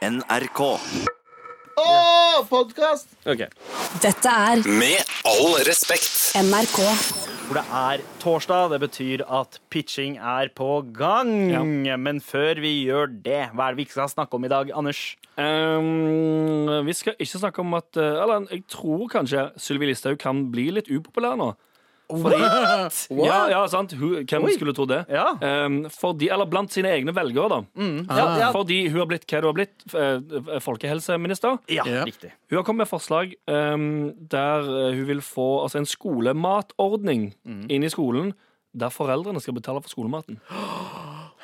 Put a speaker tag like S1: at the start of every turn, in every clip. S1: NRK.
S2: Å, podkast!
S3: Ok.
S4: Dette er
S5: Med all respekt.
S4: NRK.
S3: For det er torsdag, det betyr at pitching er på gang. Men før vi gjør det, hva er det vi ikke skal snakke om i dag, Anders?
S6: Ehm, vi skal ikke snakke om at eh, Eller jeg tror kanskje Sylvi Listhaug kan bli litt upopulær nå. Fordi, ja, ja, sant hun, Hvem skulle tro det?
S3: Ja.
S6: Ehm, fordi, eller blant sine egne velgere, da. Ah.
S3: Ja, ja,
S6: Fordi hun har blitt hva hun har blitt. eh, Folkehelseminister.
S3: ja,
S2: Ja.
S3: riktig.
S6: Hun har kommet med forslag ehm, der eh, hun vil få altså, en skolematordning
S3: Mm.
S6: inn i skolen. Der foreldrene skal betale for skolematen.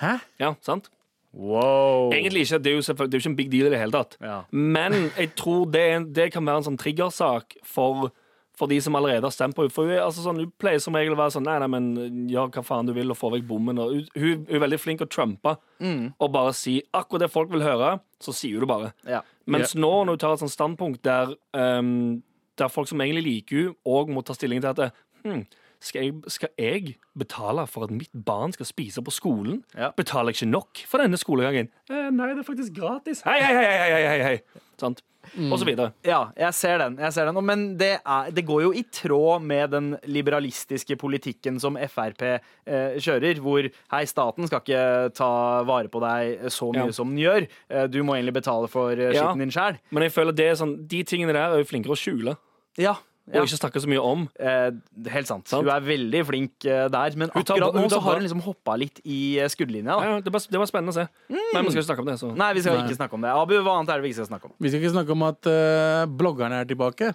S2: Hæ?
S6: Ja, sant?
S3: Wow.
S6: Egentlig ikke. Det er jo, selvfø- det er jo ikke en big deal i det hele tatt.
S3: Ja.
S6: Men jeg tror det, er en- det kan være en sånn triggersak for, for de som allerede har stemt på henne. For hun, er, altså, sånn, hun pleier som regel å være sånn Nei, nei, men gjør hva faen du vil og få vekk bommen. Og, hun, hun er veldig flink å trumpe
S3: Mm.
S6: og bare si akkurat det folk vil høre, så sier hun det bare.
S3: Ja.
S6: Mens nå, når hun tar et sånt standpunkt der, ehm, der folk som egentlig liker henne, òg må ta stilling til at det, hm, skal, jeg, skal jeg betale for at mitt barn skal spise på skolen?
S3: Ja.
S6: Betaler jeg ikke nok for denne skolegangen? Eh, nei, det er faktisk gratis. Hei, hei, hei, hei, hei, hei, hei. Sant?
S3: Mm.
S6: Og så videre.
S3: Ja, jeg ser den. Jeg ser den. Og- Men det, er, det går jo i tråd med den liberalistiske politikken som Frp eh, kjører, hvor hei, staten skal ikke ta vare på deg så mye
S6: Ja.
S3: som den gjør. Eh, Du må egentlig betale for eh,
S6: Ja.
S3: skitten din sjæl.
S6: Men jeg føler det er sånn, de tingene der er jo flinkere å skjule.
S3: Ja.
S6: Og ikke snakke så mye om.
S3: Eh, helt sant. Hun
S6: Sant.
S3: er veldig flink eh, der, men
S6: Hun tar-
S3: akkurat nå
S6: hun tar-
S3: så har hun liksom hoppa litt i eh, skuddlinja. Da.
S6: Ja, ja, det, var, det var spennende å se. Men vi skal ikke snakke om det. Så.
S3: Mm. Nei, vi skal ikke snakke om det. Abu, hva annet er det vi ikke skal snakke om?
S2: Vi skal ikke snakke om at eh, bloggerne er tilbake.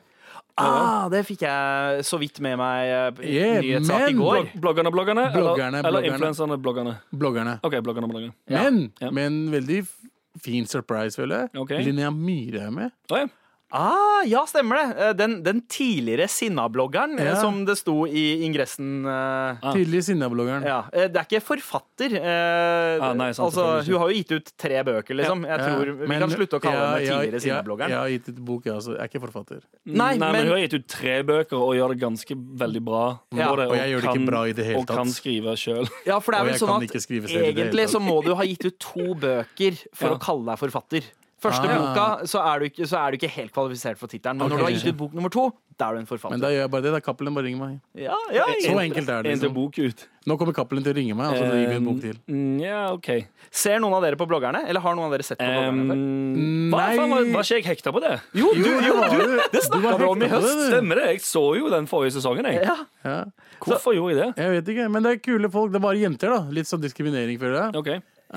S3: Ah, det fikk jeg så vidt med meg eh, i
S2: Yeah,
S3: nyhetssak i
S2: men-
S3: går.
S6: Blog- Bloggerne, bloggerne?
S2: Bloggerne,
S6: Eller, eller
S2: bloggerne.
S6: influenserne, bloggerne?
S2: Bloggerne.
S6: OK, bloggerne, bloggerne.
S2: Men
S6: Ja.
S2: med en veldig f- fin surprise, føler jeg.
S6: Ok.
S2: Linnea Myhre er med.
S6: Å, ja.
S3: Ah, ja, stemmer det. Eh, Den, den tidligere Sinna-bloggeren, eh,
S2: Ja.
S3: som det sto i ingressen. eh,
S6: Ah.
S2: Tidlig Sinna-bloggeren.
S3: Ja, eh, Det er ikke forfatter. eh,
S6: Ah, nei, sant,
S3: altså,
S6: selvfølgelig ikke.
S3: hun har jo gitt ut tre bøker, liksom. Jeg tror
S2: Ja,
S3: Vi
S2: Eh, men-
S3: kan slutte å kalle
S2: ja,
S3: henne
S2: ja,
S3: tidligere
S2: Ja,
S3: Sinna-bloggeren.
S2: jeg har gitt ut bok, jeg også. Jeg er ikke forfatter.
S3: Nei,
S6: Nei, men,
S3: men-
S6: hun har gitt ut tre bøker og gjør det ganske veldig bra. på
S3: Ja,
S2: og jeg gjør det ikke
S6: kan-
S2: bra i det hele
S6: Og kan
S2: tatt.
S6: skrive sjøl.
S3: Ja, for det er
S2: Og
S3: vel
S2: jeg
S3: sånn
S2: kan
S3: at
S2: ikke skrive selv i det hele
S3: egentlig
S2: tatt.
S3: så må du ha gitt ut to bøker for
S6: Ja.
S3: å kalle deg forfatter. Første
S2: Ah.
S3: boka så er, du ikke, så er du ikke helt kvalifisert for tittelen, men når du har gitt ut bok nummer to, da er du en
S2: Men
S3: forfatter.
S2: da gjør jeg bare det. da Cappelen bare ringer meg.
S3: Ja, ja,
S2: Så enkelt er det.
S6: En til
S2: Liksom.
S6: bok ut.
S2: Nå kommer Cappelen til å ringe meg, og så
S3: Eh,
S2: gir vi en bok til.
S6: Mm, Ja, OK.
S3: Ser noen av dere på bloggerne? Eller har noen av dere sett på bloggerne før?
S6: Um,
S2: Nei.
S6: hva faen, var, var ikke jeg hekta på det?
S3: Jo, du, jo,
S2: det
S3: du,
S2: var det.
S3: det snakka
S2: Du
S3: du
S2: var
S3: om i
S2: hekta på
S3: høst.
S2: det,
S6: Stemmer det? Jeg så jo den forrige sesongen, jeg.
S3: Ja.
S2: Ja.
S6: Hvorfor gjorde jeg det?
S2: Jeg vet ikke, men det er kule folk. Det er bare jenter, da. Litt sånn diskriminering, føler jeg.
S6: OK.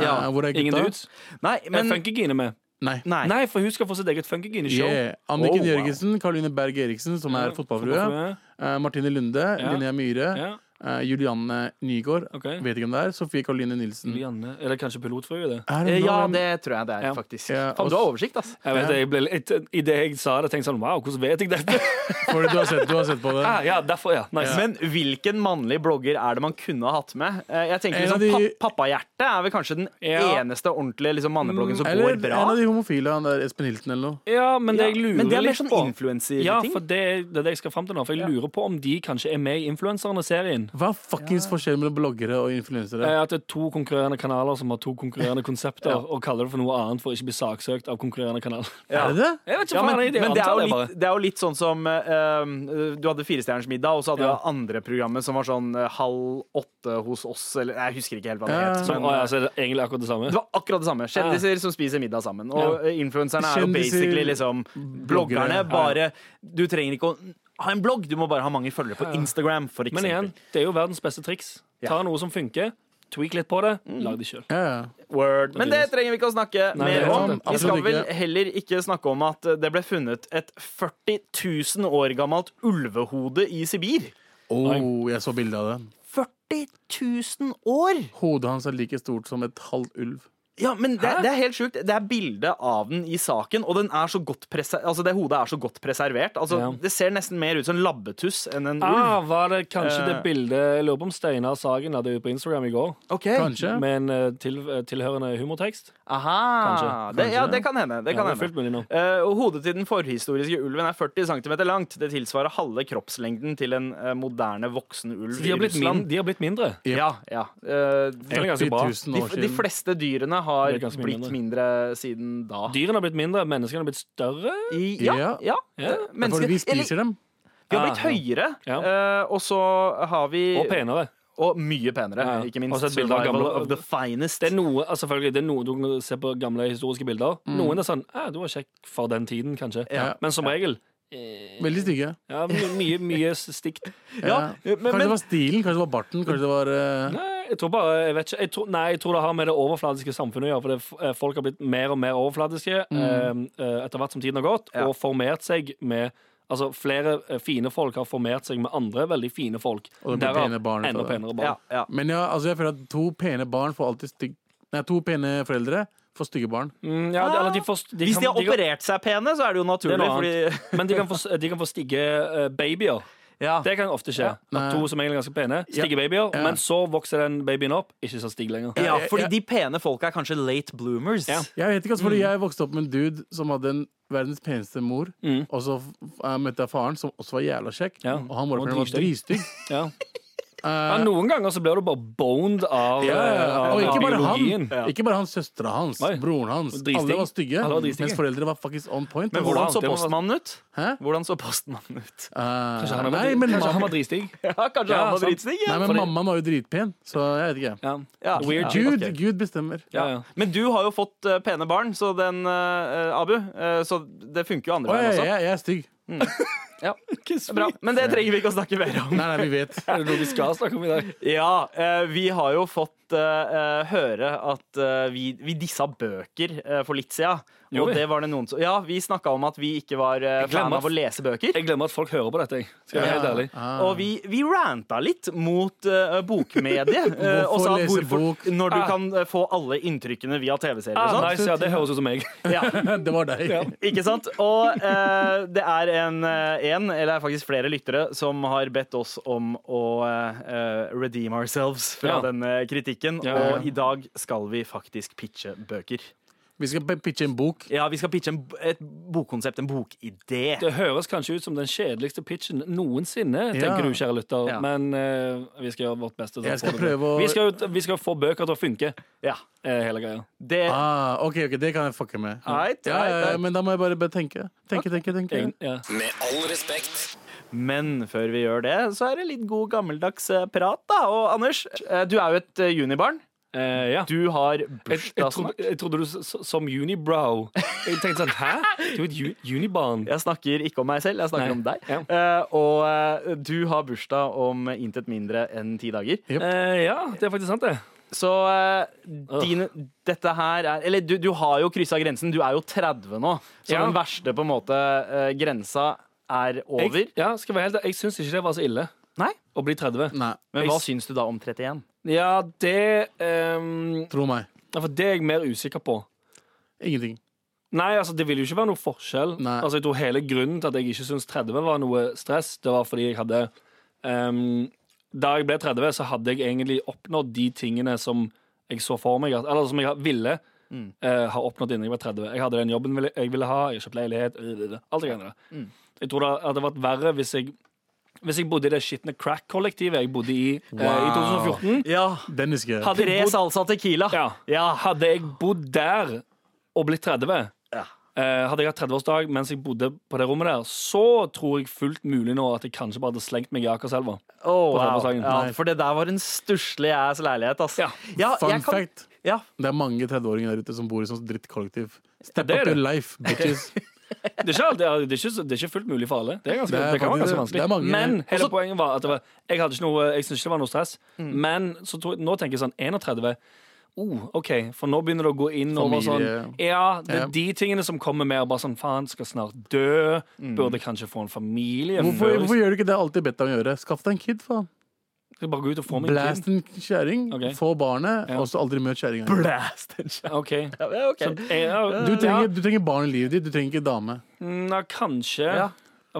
S3: Ja,
S2: Eh, hvor er gutta?
S6: Ingen dudes?
S3: Nei,
S6: Men
S3: men
S6: Funkygine med?
S2: Eh, Nei.
S3: Nei.
S6: Nei, for hun skal få sitt eget Funkygine-show.
S2: Yeah. Anniken
S3: Oh, wow.
S2: Jørgensen, Karoline Berg Eriksen, som er fotballfrue.
S6: fotballfrue.
S2: eh, Martine Lunde, Linnea Myhre.
S6: Ja.
S2: eh, Julianne Nygaard.
S6: Ok.
S2: Vet ikke hvem det er. Sofie Karoline Nilsen.
S6: Julianne Eller kanskje pilotfrue, det.
S2: Er
S3: eh,
S2: det
S3: Ja,
S2: noen-
S3: det tror jeg det er,
S6: Ja.
S3: faktisk.
S2: Ja,
S3: Faen,
S2: og-
S3: du har oversikt, ass.
S6: Jeg vet, det, jeg ble litt, I det jeg sa det, tenkte jeg sånn Wow, hvordan vet jeg dette?
S2: Fordi du har sett, du har sett på det.
S6: ah, ja, derfor, ja. Nice.
S3: Men hvilken mannlig blogger er det man kunne ha hatt med? Eh, Jeg tenker
S2: En
S3: liksom,
S2: av de-
S3: pa- Pappahjerte er vel kanskje den
S6: Ja.
S3: eneste ordentlige liksom, mannebloggen som
S2: Eller
S3: går bra.
S2: en av de homofile, han der Espen Hilton eller noe.
S6: Ja, men det jeg lurer
S3: men det er mer
S6: litt
S3: sånn
S6: på
S3: influencer-ting.
S6: Ja, for det, er- det er det jeg skal frem til nå. For jeg lurer på om de kanskje er med i Influenserne-serien.
S2: Hva er fuckings forskjellen mellom bloggere og influensere?
S6: Eh, At det er to konkurrerende kanaler som har to konkurrerende konsepter, og kaller det for noe annet for å ikke bli saksøkt av konkurrerende kanal.
S3: ja.
S2: Er det det?
S6: Jeg vet ikke
S3: Ja,
S6: hva
S3: men,
S6: faen jeg
S3: men det, er
S6: antar
S3: jo
S6: det bare.
S3: litt, det er jo litt sånn som eh, eh, Du hadde Firestjerners middag, og så hadde du
S6: Ja.
S3: det andre programmet som var sånn eh, halv åtte hos oss, eller jeg husker ikke helt hva det
S2: Ja.
S3: het.
S6: Så,
S3: Men, eh,
S6: å, ja, så er det egentlig akkurat det samme.
S3: det var akkurat det samme. Kjendiser som spiser middag sammen. Og eh, influenserne er jo
S2: Kjendiser,
S3: basically liksom bloggerne.
S2: bloggere, ja.
S3: Bare Du trenger ikke å ha en blogg, du må bare ha mange følgere på Instagram, for
S6: Men igjen,
S3: eksempel.
S6: det er jo verdens beste triks. Ta noe som funker, tweak litt på det,
S3: Mm.
S6: lag det sjøl.
S2: Ja, ja.
S3: Word. Men det trenger vi ikke å snakke
S6: Nei, det
S3: mer
S6: er
S3: om.
S2: sant, det.
S3: Vi skal
S2: Absolutt
S3: vel
S2: ikke.
S3: heller ikke snakke om at det ble funnet et 40 000 år gammelt ulvehode i Sibir.
S2: Oh, jeg så bilde av det.
S3: 40 000 år!
S2: Hodet hans er like stort som et halvt ulv.
S3: Ja, men det, det er helt sjukt. Det er bilde av den i saken, og den er så godt prese- altså, det hodet er så godt preservert. Altså,
S6: Ja.
S3: Det ser nesten mer ut som en labbetuss enn en ulv.
S6: Ah, var det
S3: Mm. Eh.
S6: kanskje det bildet Jeg lurer på om Steinar Sagen hadde på Instagram i går,
S3: Ok,
S2: Kanskje?
S6: med en eh, til, eh, tilhørende humortekst?
S3: Aha.
S6: Kanskje,
S3: Det, ja,
S2: kanskje.
S3: det kan hende. Det
S6: Ja,
S3: kan hende.
S6: det er fullt mulig nå.
S3: Eh, og hodet til den forhistoriske ulven er 40 cm langt. Det tilsvarer halve kroppslengden til en eh, moderne voksen ulv
S6: De
S3: i
S6: har blitt, min,
S3: Russland.
S6: de har blitt mindre.
S3: Ja, ja. Eh, de,
S6: Egentlig ganske bra.
S2: 40 000
S3: de,
S2: år
S3: de
S2: siden.
S3: fleste dyrene har
S6: Det er ganske mye
S3: blitt mindre.
S6: mindre.
S3: siden da.
S6: Dyrene har blitt mindre, menneskene har blitt større.
S3: I, ja, ja.
S2: Ja.
S6: Ja.
S3: Eh,
S2: Det er
S3: mennesker-
S2: fordi vi
S3: eller-
S2: spiser dem.
S3: Vi har blitt
S6: Ah,
S3: høyere,
S6: Ja.
S3: eh, og så har vi
S6: Og penere.
S3: Og mye penere,
S6: Ja, ja.
S3: ikke minst.
S6: Og så et bilde av
S3: Survival
S6: gamle-
S3: of the finest.
S6: Det er noe, altså selvfølgelig, det er noe du kan se på gamle historiske bilder.
S2: Mm.
S6: Noen er sånn «Ah, 'Du var kjekk for den tiden', kanskje.
S3: Ja.
S6: Men som regel
S2: Veldig stygge.
S6: ja, mye, mye, mye stikt.
S2: Ja.
S3: Ja, men-
S2: Kanskje
S3: men-
S2: det var stilen, kanskje det var barten, kanskje det var eh,
S6: Nei, jeg tror bare, jeg vet ikke jeg tror, Nei, jeg tror det har med det overfladiske samfunnet å gjøre. For det, f- eh, folk har blitt mer og mer overfladiske
S2: Mm.
S6: eh, eh, etter hvert som tiden har gått,
S3: Ja.
S6: og formert seg med Altså, flere eh, fine folk har formert seg med andre veldig fine folk.
S2: Og det blir
S6: Derav
S2: pene barn ut
S6: Enda
S2: av det.
S6: penere barn.
S3: ja, ja.
S2: Men ja, altså jeg føler at to pene barn får alltid stygg Nei, to pene foreldre får stygge barn.
S6: Mm, ja, de, eller de får, de
S3: Hvis
S6: kan-
S3: de har
S6: de kan-
S3: operert seg pene, så er det jo
S6: Det er
S3: naturlig.
S6: noe
S3: fordi,
S6: annet. Men de kan få, de kan få stigge eh,
S3: ja.
S6: babyer.
S2: Ah.
S6: Det kan ofte skje.
S2: Nei.
S6: At to som egentlig er ganske pene, stigger babyer, men så vokser den babyen opp. Ikke så stig lenger.
S3: ja, fordi
S2: jeg-
S3: de pene folka er kanskje late bloomers.
S6: Ja.
S2: Jeg vet ikke, altså, fordi jeg vokste opp med en dude som hadde en verdens peneste mor,
S6: Mm.
S2: og så f- eh, møtte jeg faren, som også var jævla kjekk,
S6: Ja.
S2: og han morapuleren
S6: Og
S2: var dritstygg.
S6: Ja. Ja,
S2: Eh,
S6: noen ganger så blir du bare boned av,
S2: Ja, ja, ja.
S6: eh, av
S2: Og ikke bare han,
S6: biologien.
S2: ikke bare han, søstera hans,
S6: Oi.
S2: broren hans.
S6: Dritstygg.
S2: Alle var stygge,
S6: Alle var dritstygge.
S2: mens foreldre var faktisk on point.
S3: Men
S2: altså.
S3: hvordan så
S6: det må-
S3: postmannen ut?
S2: Hæ?
S3: Hvordan så postmannen ut?
S2: Eh,
S6: Kanskje han, er
S2: nei,
S6: bare-
S2: men,
S6: kanskje han
S2: mamma,
S6: var dritstig.
S3: Ja, kanskje
S6: Ja,
S3: han var
S6: sant.
S3: dritsnigg? ja.
S2: nei, men mammaen var jo dritpen, så jeg vet ikke.
S6: Ja.
S3: Ja.
S6: Weird.
S3: Ja.
S2: Gud,
S3: ok.
S2: Gud bestemmer.
S6: Ja, ja.
S3: Men du har jo fått eh, pene barn, så den eh, Abu, eh, så det funker jo andre
S2: Å,
S3: veien
S2: jeg,
S3: også.
S2: jeg, jeg er stygg.
S3: Bra. Men det trenger vi ikke å snakke mer om.
S2: Nei, nei, vi vet.
S6: Er det noe vi skal snakke om i dag?
S3: Ja, eh, vi har jo fått eh, eh, høre at eh, vi, vi dissa bøker eh, for litt siden. Og
S6: Gjorde vi?
S3: det var det noen som Ja, vi snakka om at vi ikke var eh,
S6: Jeg glemmer
S3: fan av
S6: at-
S3: å lese bøker.
S6: Jeg glemmer at folk hører på dette. jeg. Skal jeg være helt ærlig.
S2: Ah.
S3: Og vi, vi ranta litt mot eh, bokmediet. eh, og
S2: Hvorfor
S3: sa at
S2: lese
S3: hvorfor,
S2: bok?
S3: når du
S6: Ah.
S3: kan eh, få alle inntrykkene via TV-serier
S6: Ah,
S3: og
S6: nice, ja, det høres ut som meg.
S3: sånt. Ja.
S2: Det var deg.
S6: Ja.
S3: Ikke sant? Og eh, det er en, eh, en, eller faktisk flere lyttere, som har bedt oss om å eh, redeem ourselves fra
S6: Ja.
S3: denne kritikken.
S6: Ja, ja, ja.
S3: Og i dag skal vi faktisk pitche bøker.
S2: Vi skal p- pitche en bok.
S3: Ja, vi skal pitche en, b- et bokkonsept, en bokidé.
S6: Det høres kanskje ut som den kjedeligste pitchen noensinne,
S2: Ja.
S6: tenker du, kjære lytter,
S3: Ja.
S6: men eh, vi skal gjøre vårt beste. til å
S2: Jeg
S6: få
S2: skal
S6: det til.
S2: prøve å-
S6: vi, skal, jo- vi skal få bøker til å funke,
S3: Ja.
S6: eh, hele greia.
S3: Det,
S2: Ah, ok, ok, det kan jeg fucke med.
S3: Alright,
S2: ja, ja,
S3: alright,
S2: ja, men da må jeg bare, bare tenke. Tenke, tenke, tenke.
S6: Egen- ja.
S5: Med all respekt.
S3: men før vi gjør det, så er det litt god gammeldags eh, prat, da. Og Anders, eh, du er jo et eh, junibarn.
S6: Eh, ja.
S3: Du har
S6: Jeg, jeg,
S3: bursdag
S6: trodde,
S3: snart.
S6: jeg trodde du s- s- som unibrow. Jeg tenkte sånn, hæ? Du er et ju- unibarn.
S3: Jeg snakker ikke om meg selv, jeg snakker
S6: Nei.
S3: om deg.
S6: Ja.
S3: Eh, og eh, du har bursdag om intet mindre enn ti dager.
S6: Eh, ja, det er faktisk sant, det.
S3: Så eh, dine, dette her er Eller du, du har jo kryssa grensen. Du er jo 30 nå. Så
S6: Ja.
S3: den verste på en måte eh, grensa er over.
S6: Jeg, ja, skal være helt, jeg syns ikke det var så ille
S3: Nei.
S6: å bli 30.
S2: Nei,
S3: Men hva
S6: Jeg-
S3: syns du da om 31?
S6: Ja, det ehm,
S2: tro meg.
S6: ja, For det er jeg mer usikker på.
S2: Ingenting.
S6: Nei, altså, det ville jo ikke være noe forskjell.
S2: Nei.
S6: Altså, jeg tror hele grunnen til at jeg ikke syns 30 var noe stress, det var fordi jeg hadde ehm, Da jeg ble 30, så hadde jeg egentlig oppnådd de tingene som jeg så for meg, at- eller som jeg ville eh, ha oppnådd innen jeg var 30. Jeg hadde den jobben ville- jeg ville ha, jeg kjøpte leilighet, øh, øh, øh, alt det greiene der. Jeg tror det hadde vært verre hvis jeg hvis jeg bodde i det skitne crack-kollektivet jeg bodde i eh, i 2014.
S3: Ja.
S2: Den husker jeg.
S6: Hadde
S3: Tre
S6: jeg bodd-
S3: salsa tequila.
S6: ja. Hadde jeg bodd der og blitt 30
S3: Ja.
S6: eh, Hadde jeg hatt 30-årsdag mens jeg bodde på det rommet der, så tror jeg fullt mulig nå at jeg kanskje bare hadde slengt meg i Akerselva.
S3: Oh,
S6: På
S3: wow.
S6: salsasangen.
S3: ja,
S2: Nei.
S3: for det der var en stusslig ass leilighet, ass.
S6: Ja.
S3: Ja,
S2: Fun
S3: jeg kan-
S2: fact.
S3: Ja.
S2: Det er mange 30-åringer der ute som bor i sånn drittkollektiv. Step
S6: Det er
S2: up your
S6: det.
S2: life, bitches.
S6: Det er, ikke, alt- det, er, det, er ikke, det er ikke fullt mulig for alle. Det, er ganske,
S2: Det
S6: det,
S2: er
S6: kan være
S2: faktisk-
S6: ganske vanskelig.
S2: det er mange- Altså-
S6: men hele
S2: Også-
S6: poenget var at det var, jeg hadde ikke noe Jeg syntes ikke det var noe stress. Men så tror, jeg- nå tenker jeg sånn 31 oh, OK, for nå begynner det å gå inn over
S2: Familie.
S6: sånn Ja, det
S2: Ja.
S6: er de tingene som kommer med. og Bare sånn Faen, skal snart dø. Burde kanskje få en familie.
S2: Hvorfor,
S6: bør-
S2: hvorfor gjør du ikke det jeg alltid bedt deg om å gjøre? Skaff deg en kid, faen.
S6: Skal jeg bare gå ut og få meg en
S2: Blast en kjæring,
S6: Ok.
S2: få barnet,
S6: Ja.
S2: og så aldri møt kjæringa.
S3: Blast and shout.
S6: kid? OK.
S3: Ja, ok.
S6: Så, jeg, ja,
S2: eh, Du trenger, du trenger barn i livet ditt, du trenger ikke dame.
S6: Nei, kanskje.
S3: Ja.
S6: Ja.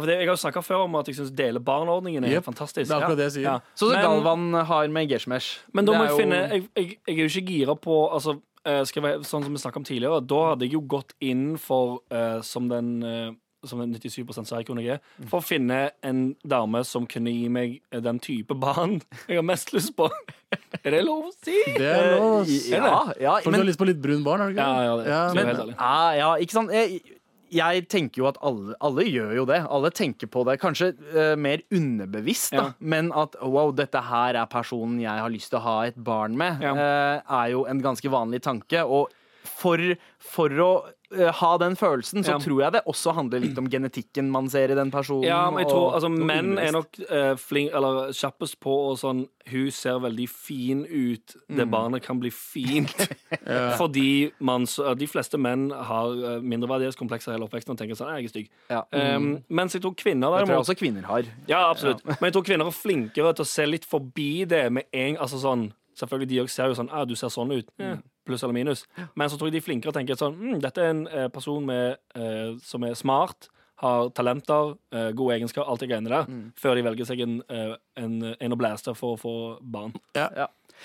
S6: for det, jeg har jo snakka før om at jeg syns dele barn-ordningen er
S2: Jep,
S6: fantastisk.
S2: det er akkurat det jeg sier.
S3: Så det
S6: Men-
S3: Galvan har med Geshmesh.
S6: Men da
S3: Det
S6: må
S3: er
S6: jeg
S3: jo-
S6: finne Jeg, jeg, jeg er jo ikke gira på altså, eh, skal jeg, være- Sånn som vi snakket om tidligere Da hadde jeg jo gått inn for eh, Som den eh, som en 97 psycho jeg er,
S2: Mm.
S6: for å finne en dame som kunne gi meg eh, den type barn jeg har mest lyst på. Er det lov å si?
S2: Det er lov. ass.
S3: Ja, ja,
S2: For du har
S3: Eh, men,
S2: lyst på litt brun barn, har du ikke?
S6: Ja, ja, det-
S2: ja,
S6: det er
S2: men,
S6: helt ærlig.
S3: ja, ah, ja, ikke sant? Jeg, jeg tenker jo at alle, alle gjør jo det. Alle tenker på det. Kanskje eh, mer underbevisst, da.
S6: Ja.
S3: Men at wow, dette her er personen jeg har lyst til å ha et barn med,
S6: Ja.
S3: eh, er jo en ganske vanlig tanke. Og for, for å eh, ha den følelsen, så
S6: Ja.
S3: tror jeg det også handler litt om genetikken man ser i den personen.
S6: Ja, men jeg
S3: og-
S6: tror altså,
S3: og
S6: Menn
S3: underbevisst.
S6: er nok eh, flink, eller kjappest på og sånn Hun ser veldig fin ut.
S3: Mm.
S6: Det barnet kan bli fint. Fordi man, så- de fleste menn har eh, mindreverdighetskomplekser hele oppveksten og tenker sånn «Nei, Jeg er stygg.
S3: Ja.
S6: Um, mens jeg tror kvinner
S3: Det tror jeg
S6: derimot
S3: også kvinner har.
S6: Ja, absolutt. Men jeg tror kvinner er flinkere til å se litt forbi det med en Altså sånn Selvfølgelig de også ser jo sånn ah, du ser sånn ut. Eh, Pluss eller minus. Men så tror jeg de er flinkere til å tenke sånn mm, Dette er en eh, person med, eh, som er smart, har talenter, eh, gode egenskaper, alt det greiene der, før de velger seg en, eh, en, en å blæste for å få barn.
S3: Ja.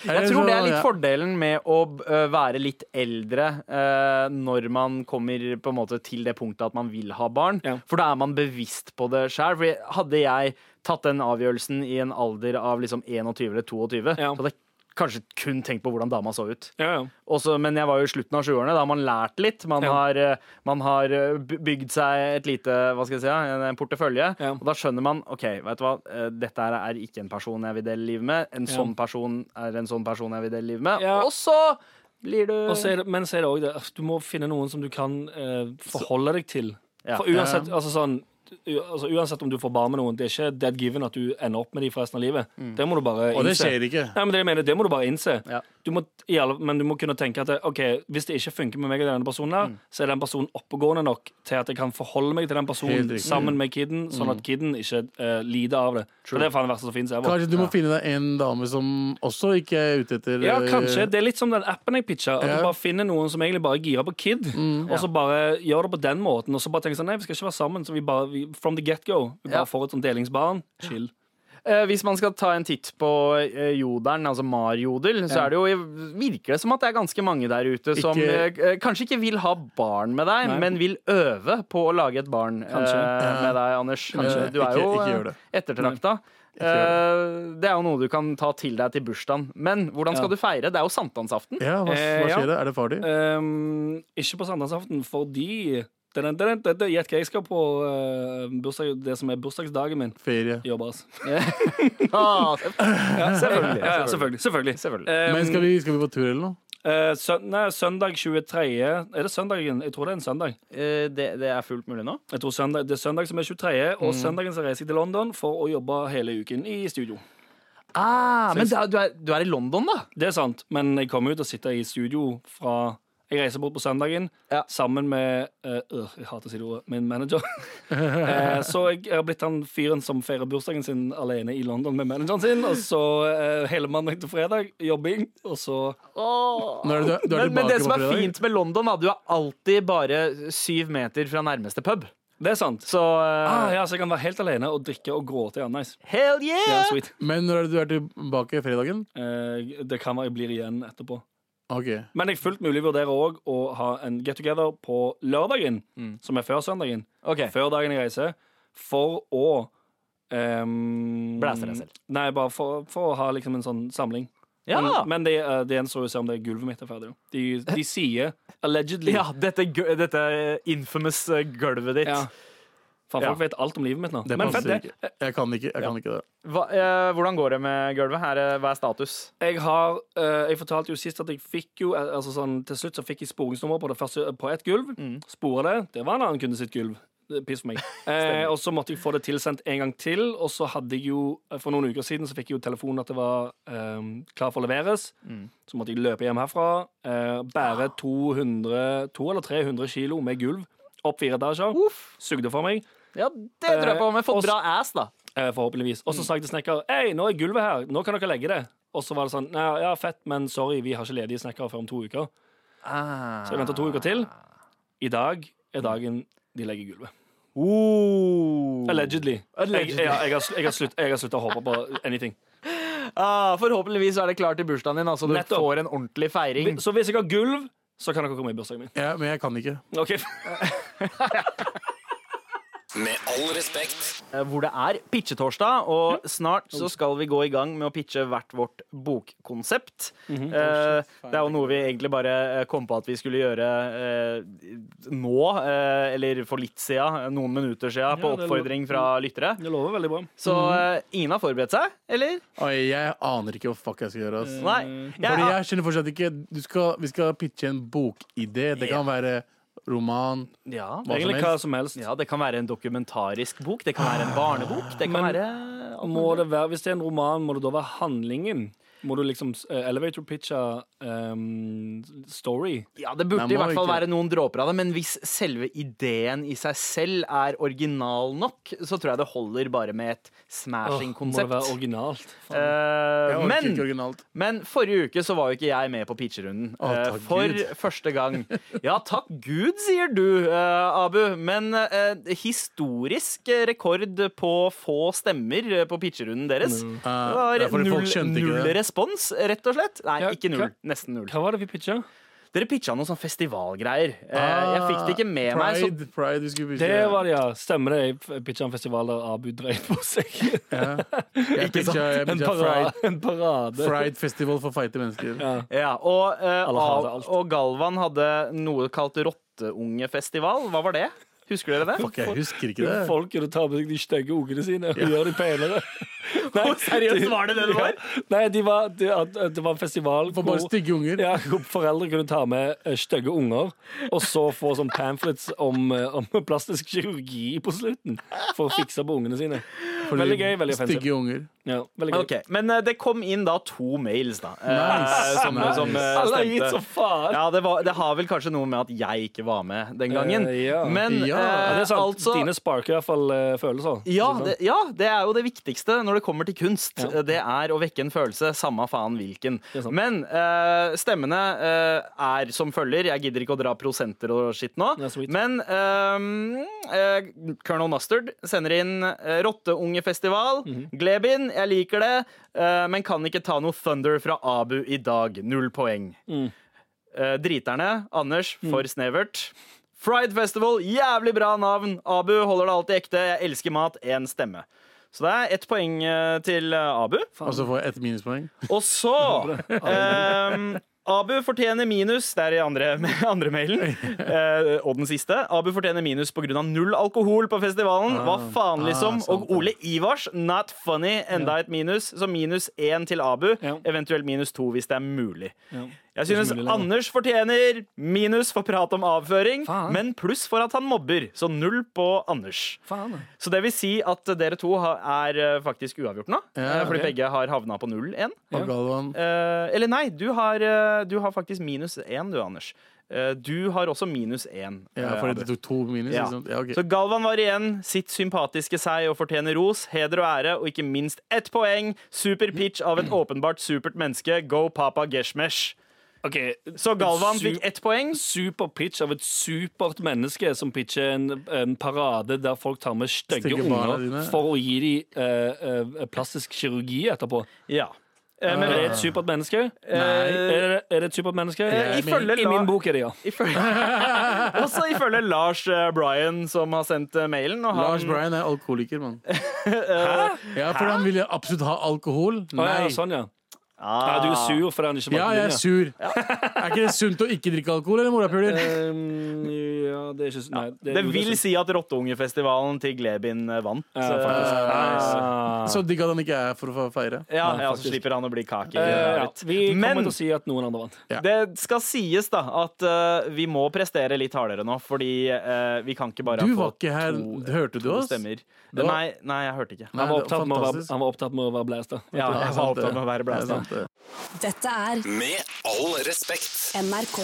S2: Eller
S3: Jeg tror
S2: Eh, så-
S3: det er litt
S2: ja.
S3: fordelen med å ø, være litt eldre eh, når man kommer på en måte til det punktet at man vil ha barn.
S6: Ja.
S3: For da er man bevisst på det sjøl. Hadde jeg tatt den avgjørelsen i en alder av liksom 21 eller 22,
S6: Ja.
S3: så hadde jeg kanskje kun tenkt på hvordan dama så ut.
S6: Ja, ja.
S3: Også, men jeg var jo i slutten av 20-årene. Da har man lært litt. Man,
S6: Ja.
S3: har, eh, man har eh, by- bygd seg et lite, hva skal jeg si, ja, en- en portefølje.
S6: Ja.
S3: Og da skjønner man ok, vet du hva, eh, dette her er ikke en person jeg vil dele livet med. En
S6: Ja.
S3: sånn person er en sånn person jeg vil dele livet med.
S6: Ja.
S3: Og så blir du
S6: Og så er det, men så er det òg det at du må finne noen som du kan eh, forholde deg til.
S3: Ja.
S6: For uansett, altså sånn u- Altså, uansett om du får barn med noen, det er ikke dead given at du ender opp med de for resten av livet. Det må du bare
S2: Og det
S6: innse.
S2: skjer ikke.
S6: Nei, men det, jeg mener, det må du bare innse.
S3: Mm. Ja.
S6: Du må, i alle, men du må kunne tenke at det, ok, hvis det ikke funker med meg og denne personen,
S3: Mm.
S6: her, så er den personen oppegående nok til at jeg kan forholde meg til den
S2: Helt
S6: personen
S2: riktig.
S3: Mm.
S2: Mm.
S6: sammen med kiden, sånn at kiden ikke eh, lider av det. For det er faen det verste som finnes. ever.
S2: Kanskje du må finne deg en dame som også ikke er ute etter eh,
S6: Ja, kanskje. Det er litt som den appen jeg pitcha. At
S2: Ja.
S6: du bare finner noen som egentlig bare girer på kid, og så bare gjør det på den måten. Og så bare tenker sånn Nei, vi skal ikke være sammen. Så vi bare vi, From the get go. Vi bare
S3: Ja.
S6: får et sånt delingsbarn. Chill.
S3: Eh, Hvis man skal ta en titt på eh, jodelen, altså Mar-jodel, så er det jo, virker det som at det er ganske mange der ute som
S2: Ikke-
S3: eh, eh, kanskje ikke vil ha barn med deg,
S6: Nei.
S3: men vil øve på å lage et barn eh,
S6: Kanskje.
S3: med deg, Anders.
S2: Kanskje.
S3: Eh, Du er
S2: Ikke-
S3: jo
S2: ikke gjør
S3: eh,
S2: det.
S3: ettertrakta. Eh, Det er jo noe du kan ta til deg til bursdagen. Men hvordan skal
S6: Ja.
S3: du feire? Det er jo sankthansaften.
S2: Ja, hva, hva
S6: Eh, ja.
S2: skjer det? Er det far din?
S6: Ehm, ikke på sankthansaften, fordi Dun, dun, dun, dun, Gjett hva jeg skal på eh, bursdag, det som er bursdagsdagen min.
S2: Ferie.
S6: Jobber, altså.
S3: Ah, selvfølgelig.
S6: Ja, ja, selvfølgelig. selvfølgelig.
S3: Selvfølgelig.
S6: Ehm,
S2: Men skal vi, skal vi på tur eller noe?
S6: eh, søn, nei, søndag 23. Er det søndagen? Jeg tror det er en søndag.
S3: Eh, Det, det er fullt mulig nå?
S6: Jeg tror søndag, Det er søndag som er 23., og søndagen så reiser jeg til London for å jobbe hele uken i studio.
S3: Ah, men da- du er, du er i London, da?
S6: Det er sant, men jeg kommer ut og sitter i studio fra Jeg reiser bort på søndagen
S3: Ja.
S6: sammen med eh, øh, Jeg hater å si det ordet. Min manager. Eh, så jeg, jeg har blitt han fyren som feirer bursdagen sin alene i London med manageren sin. Og så eh, hele mandag til fredag jobbing, og så
S2: Nå er det, du, er- du er
S3: men, men
S2: tilbake
S3: det som
S2: på
S3: er
S2: fredag?
S3: fint med London, da, du er alltid bare syv meter fra nærmeste pub.
S6: Det er sant.
S3: Så eh,
S6: Ah, ja, så jeg kan være helt alene og drikke og gråte. Ja, nice.
S3: hell
S6: Det
S3: yeah!
S6: er sweet.
S2: Men når er det du er tilbake fredagen?
S6: Eh, det kan være jeg blir igjen etterpå.
S2: Ok.
S6: Men jeg fullt mulig vurderer òg å ha en get together på lørdagen, som er før søndagen.
S3: Mm. Ok.
S6: Før dagen jeg reiser. For å ehm,
S3: Blæse deg selv.
S6: Nei, bare for, for å ha liksom en sånn samling.
S3: Ja.
S6: Men, men det, eh, det gjenstår jo å se om det gulvet mitt er ferdig. da. De, de sier allegedly.
S3: ja, dette, gu- dette infamous eh, gulvet ditt.
S6: Ja. Faen,
S3: Ja.
S6: folk vet alt om livet mitt nå.
S2: Det
S6: men
S2: passer
S6: fett, det.
S2: ikke. Jeg kan ikke, jeg kan ikke det.
S3: Hva, eh, hvordan går det med gulvet? Her, eh, hva er status?
S6: Jeg har, eh, jeg fortalte jo sist at jeg fikk jo eh, altså sånn, Til slutt så fikk jeg sporingsnummer på det første på ett gulv. Spore det. Det var en annen kunde sitt gulv. Det er Piss for meg. Eh, og så måtte jeg få det tilsendt en gang til. Og så hadde jeg jo eh, For noen uker siden så fikk jeg jo telefonen at det var eh, klar for å leveres. Så måtte jeg løpe hjem herfra. Eh, bære 200, 200 eller 300 kilo med gulv opp fire etasjer. Sugde for meg.
S3: Ja, det tror jeg på. Men fått bra ass, da.
S6: Eh, forhåpentligvis. Og så sa jeg til snekker Hei, nå er gulvet her, nå kan dere legge det. Og så var det sånn Nei, ja, fett, men sorry, vi har ikke ledige snekkere før om to uker. Så jeg venter to uker til. I dag er dagen de legger gulvet.
S3: Oh.
S6: Allegedly.
S3: Allegedly.
S6: Jeg, ja, jeg, har, sl- jeg, har slutt, jeg har sluttet å håpe på anything.
S3: Ah, forhåpentligvis er det klart til bursdagen din, altså du
S6: Nettopp.
S3: får en ordentlig feiring.
S6: Så hvis jeg har gulv, så kan dere komme i bursdagen min.
S2: Ja, men jeg kan ikke.
S6: Ok
S5: Med all respekt.
S3: eh, hvor det er pitchetorsdag, og snart så skal vi gå i gang med å pitche hvert vårt bokkonsept.
S6: Mhm. Oh,
S3: Eh, det er jo noe vi egentlig bare eh, kom på at vi skulle gjøre eh, nå, eh, eller for litt siden, eh, noen minutter siden, på
S6: Ja, det er Mm. lov.
S3: oppfordring fra lyttere.
S6: Det lover veldig bra.
S3: Så eh, ingen har forberedt seg, eller?
S2: Oi, jeg aner ikke hva fuck jeg skal gjøre.
S6: Mm.
S2: ass.
S3: Nei.
S2: Fordi
S3: Jeg,
S2: jeg skjønner fortsatt ikke du skal, Vi skal pitche en bokidé. Det kan være roman.
S3: ja,
S2: Hva som
S6: Egentlig hva som helst.
S3: ja, det kan være en dokumentarisk bok, det kan være en barnebok, det kan
S6: Men-
S3: være
S6: Må det være, hvis det er en roman, må det da være handlingen? Må du liksom eh, elevator pitche ehm, story?
S3: Ja, det burde
S2: Nei, må
S3: i hvert fall
S2: ikke.
S3: være noen dråper av det, men hvis selve ideen i seg selv er original nok, så tror jeg det holder bare med et smashing
S6: Åh, Må det være
S3: konsept.
S6: originalt? Faen.
S3: Eh,
S2: Jeg orker
S3: men,
S2: ikke originalt.
S3: men forrige uke så var jo ikke jeg med på pitcherunden.
S2: Å,
S3: eh,
S2: takk
S3: for
S2: Gud.
S3: første gang. Ja, takk Gud, sier du, eh, Abu. Men eh, historisk eh, rekord på få stemmer eh, på pitcherunden deres.
S2: Eh, det
S3: Det
S2: er
S3: var
S2: fordi
S3: null,
S2: folk skjønte ikke
S3: null
S2: det.
S3: respons, rett og slett. Nei,
S6: Ja,
S3: ikke null.
S6: hva-
S3: Nesten null.
S6: Hva var det vi pitcha?
S3: Dere pitcha noen sånn festivalgreier. Eh,
S2: Ah,
S3: jeg fikk det ikke med
S2: Pride,
S3: meg.
S2: Pride, vi skulle
S6: Det var det, ja. Stemmer det. Jeg pitcha en festival der Abu dreiv på seg.
S2: Jeg pitcha, jeg
S6: En
S2: pitcha
S6: parade.
S2: Fried,
S6: En parade.
S2: Fried Festival for feite mennesker.
S3: Så, ja, og, eh,
S6: Alle hater
S3: Al-
S6: alt.
S3: og Galvan hadde noe kalt Rotteungefestival. Hva var det? Husker dere det?
S2: Fuck, jeg husker ikke
S6: Jo,
S2: det.
S6: Folk kunne ta med seg de stygge ungene sine og gjøre de penere. Nei,
S3: seriøst, var det det det var?
S6: Nei, de var, de, at- at det var en festival
S2: For bare stygge unger.
S6: ja, hvor foreldre kunne ta med eh, stygge unger, og så få sånn pamphlets om, eh, om plastisk kirurgi på slutten. For å fikse på ungene sine.
S2: Fordi
S6: veldig gøy, veldig offensive.
S2: Stygge unger.
S6: Ja, veldig gøy.
S3: Ok, Men eh, det kom inn da to mails, da. eh,
S2: Nice,
S3: som,
S2: nice.
S3: som, eh,
S6: Alle har gitt
S3: stemte.
S6: som faen!
S3: Ja, det, var, det har vel kanskje noe med at jeg ikke var med den gangen.
S6: Eh, ja.
S3: Men
S2: Ja,
S6: Ja,
S3: eh,
S6: det er sant.
S3: altså
S6: Dine sparker i hvert fall eh, følelser.
S3: ja
S6: Ikke sant?
S3: det, ja, det er jo det viktigste når det kommer til kunst.
S6: Ja.
S3: Det er å vekke en følelse, samme faen hvilken.
S6: er sant.
S3: Men eh, stemmene eh, er som følger. Jeg gidder ikke å dra prosenter og skitt nå.
S6: Ja, sweet.
S3: men eh, eh, Colonel Mustard sender inn eh, Rotteungefestival. Glebin, jeg liker det, eh, men kan ikke ta noe Thunder fra Abu i dag. Null poeng. Eh, driterne. Anders, for snevert. Fried Festival, jævlig bra navn. Abu holder det alltid ekte. Jeg elsker mat. Én stemme. Så det er ett poeng eh, til eh, Abu.
S2: Og så får jeg ett minuspoeng.
S3: Og så ehm, Abu fortjener minus Det er i andre, andre mailen. Eh, og den siste. Abu fortjener minus pga. null alkohol på festivalen. Hva
S6: Ah.
S3: faen, liksom?
S2: sant
S3: og Ole Ivars, not funny, enda et minus. Så minus én til Abu.
S6: Ja.
S3: Eventuelt minus to hvis det er mulig. Jeg
S6: Det er ikke
S3: synes
S6: mulig lenger.
S3: Anders fortjener minus for prat om avføring,
S6: Faen.
S3: men pluss for at han mobber. Så null på Anders.
S6: Faen, da.
S3: Så det vil si at dere to har, er eh, faktisk uavgjort nå.
S2: Ja,
S3: eh, Fordi
S6: ok.
S3: begge har havna på null igjen.
S2: Og Galvan
S3: Eh, eller nei, du har, eh, du har faktisk minus én, du, Anders. Eh, du har også minus én.
S2: Ja,
S3: eh,
S2: fordi
S3: Abu.
S2: det tok to minus.
S3: Ja.
S2: ikke
S6: sånn,
S2: sant? Ja, ok.
S3: Så Galvan var igjen sitt sympatiske seg og fortjener ros, heder og ære, og ikke minst ett poeng. Super pitch av et åpenbart supert menneske. Go Papa Geshmesh.
S6: Ok,
S3: Så Galvan
S6: Su-
S3: fikk ett poeng.
S6: super pitch av et supert menneske som pitcher en, en parade der folk tar med stygge
S2: Stygge barna
S6: unger
S2: dine.
S6: for å gi dem plastisk kirurgi etterpå.
S3: Ja. Eh,
S6: Er det
S3: men
S6: et supert menneske? Eh, Er det, er det et supert menneske?
S3: Eh, ifølge
S6: I
S3: la-
S6: min bok er det ja.
S3: ifølge, også ifølge Lars eh, Bryan, som har sendt eh, mailen. Og
S2: Lars
S3: han,
S2: Bryan er alkoholiker, mann. Ja, for han ville absolutt ha alkohol.
S6: Å, ja,
S2: Nei.
S6: sånn, ja.
S3: Ah.
S6: ja. Du er sur fordi han ikke
S2: Ja, jeg er
S6: valgte
S2: sur. Er ikke det sunt å ikke drikke alkohol, eller morapuler?
S6: Um, ja, det er ikke s- Nei.
S3: Det
S6: jo,
S3: vil
S6: er
S3: si at Rotteungefestivalen til Glebin eh, vant.
S6: s- ja, faktisk. Ah.
S2: Så digg at han ikke er for å få feire.
S3: Ja,
S6: Nei,
S3: ja, så
S6: faktisk.
S3: slipper han å bli kake.
S6: Eh, ja.
S3: ut.
S6: Vi kommer
S3: Men
S6: til å si at noen andre vant.
S2: Ja.
S3: det skal sies da at eh, vi må prestere litt hardere nå, fordi eh, vi kan ikke bare ha
S2: Du var
S3: fått
S2: ikke her. Hørte du
S3: to
S2: oss?
S3: stemmer.
S2: Det var-
S3: Nei, nei, jeg hørte ikke.
S2: Nei,
S6: Han var
S2: det var
S6: opptatt med å være,
S2: fantastisk.
S6: han var opptatt med å være blæsta.
S3: Ja, jeg var opptatt med å være
S2: Det er
S3: blæsta.
S2: sant, det.
S1: Dette er
S5: Med all respekt.
S1: NRK.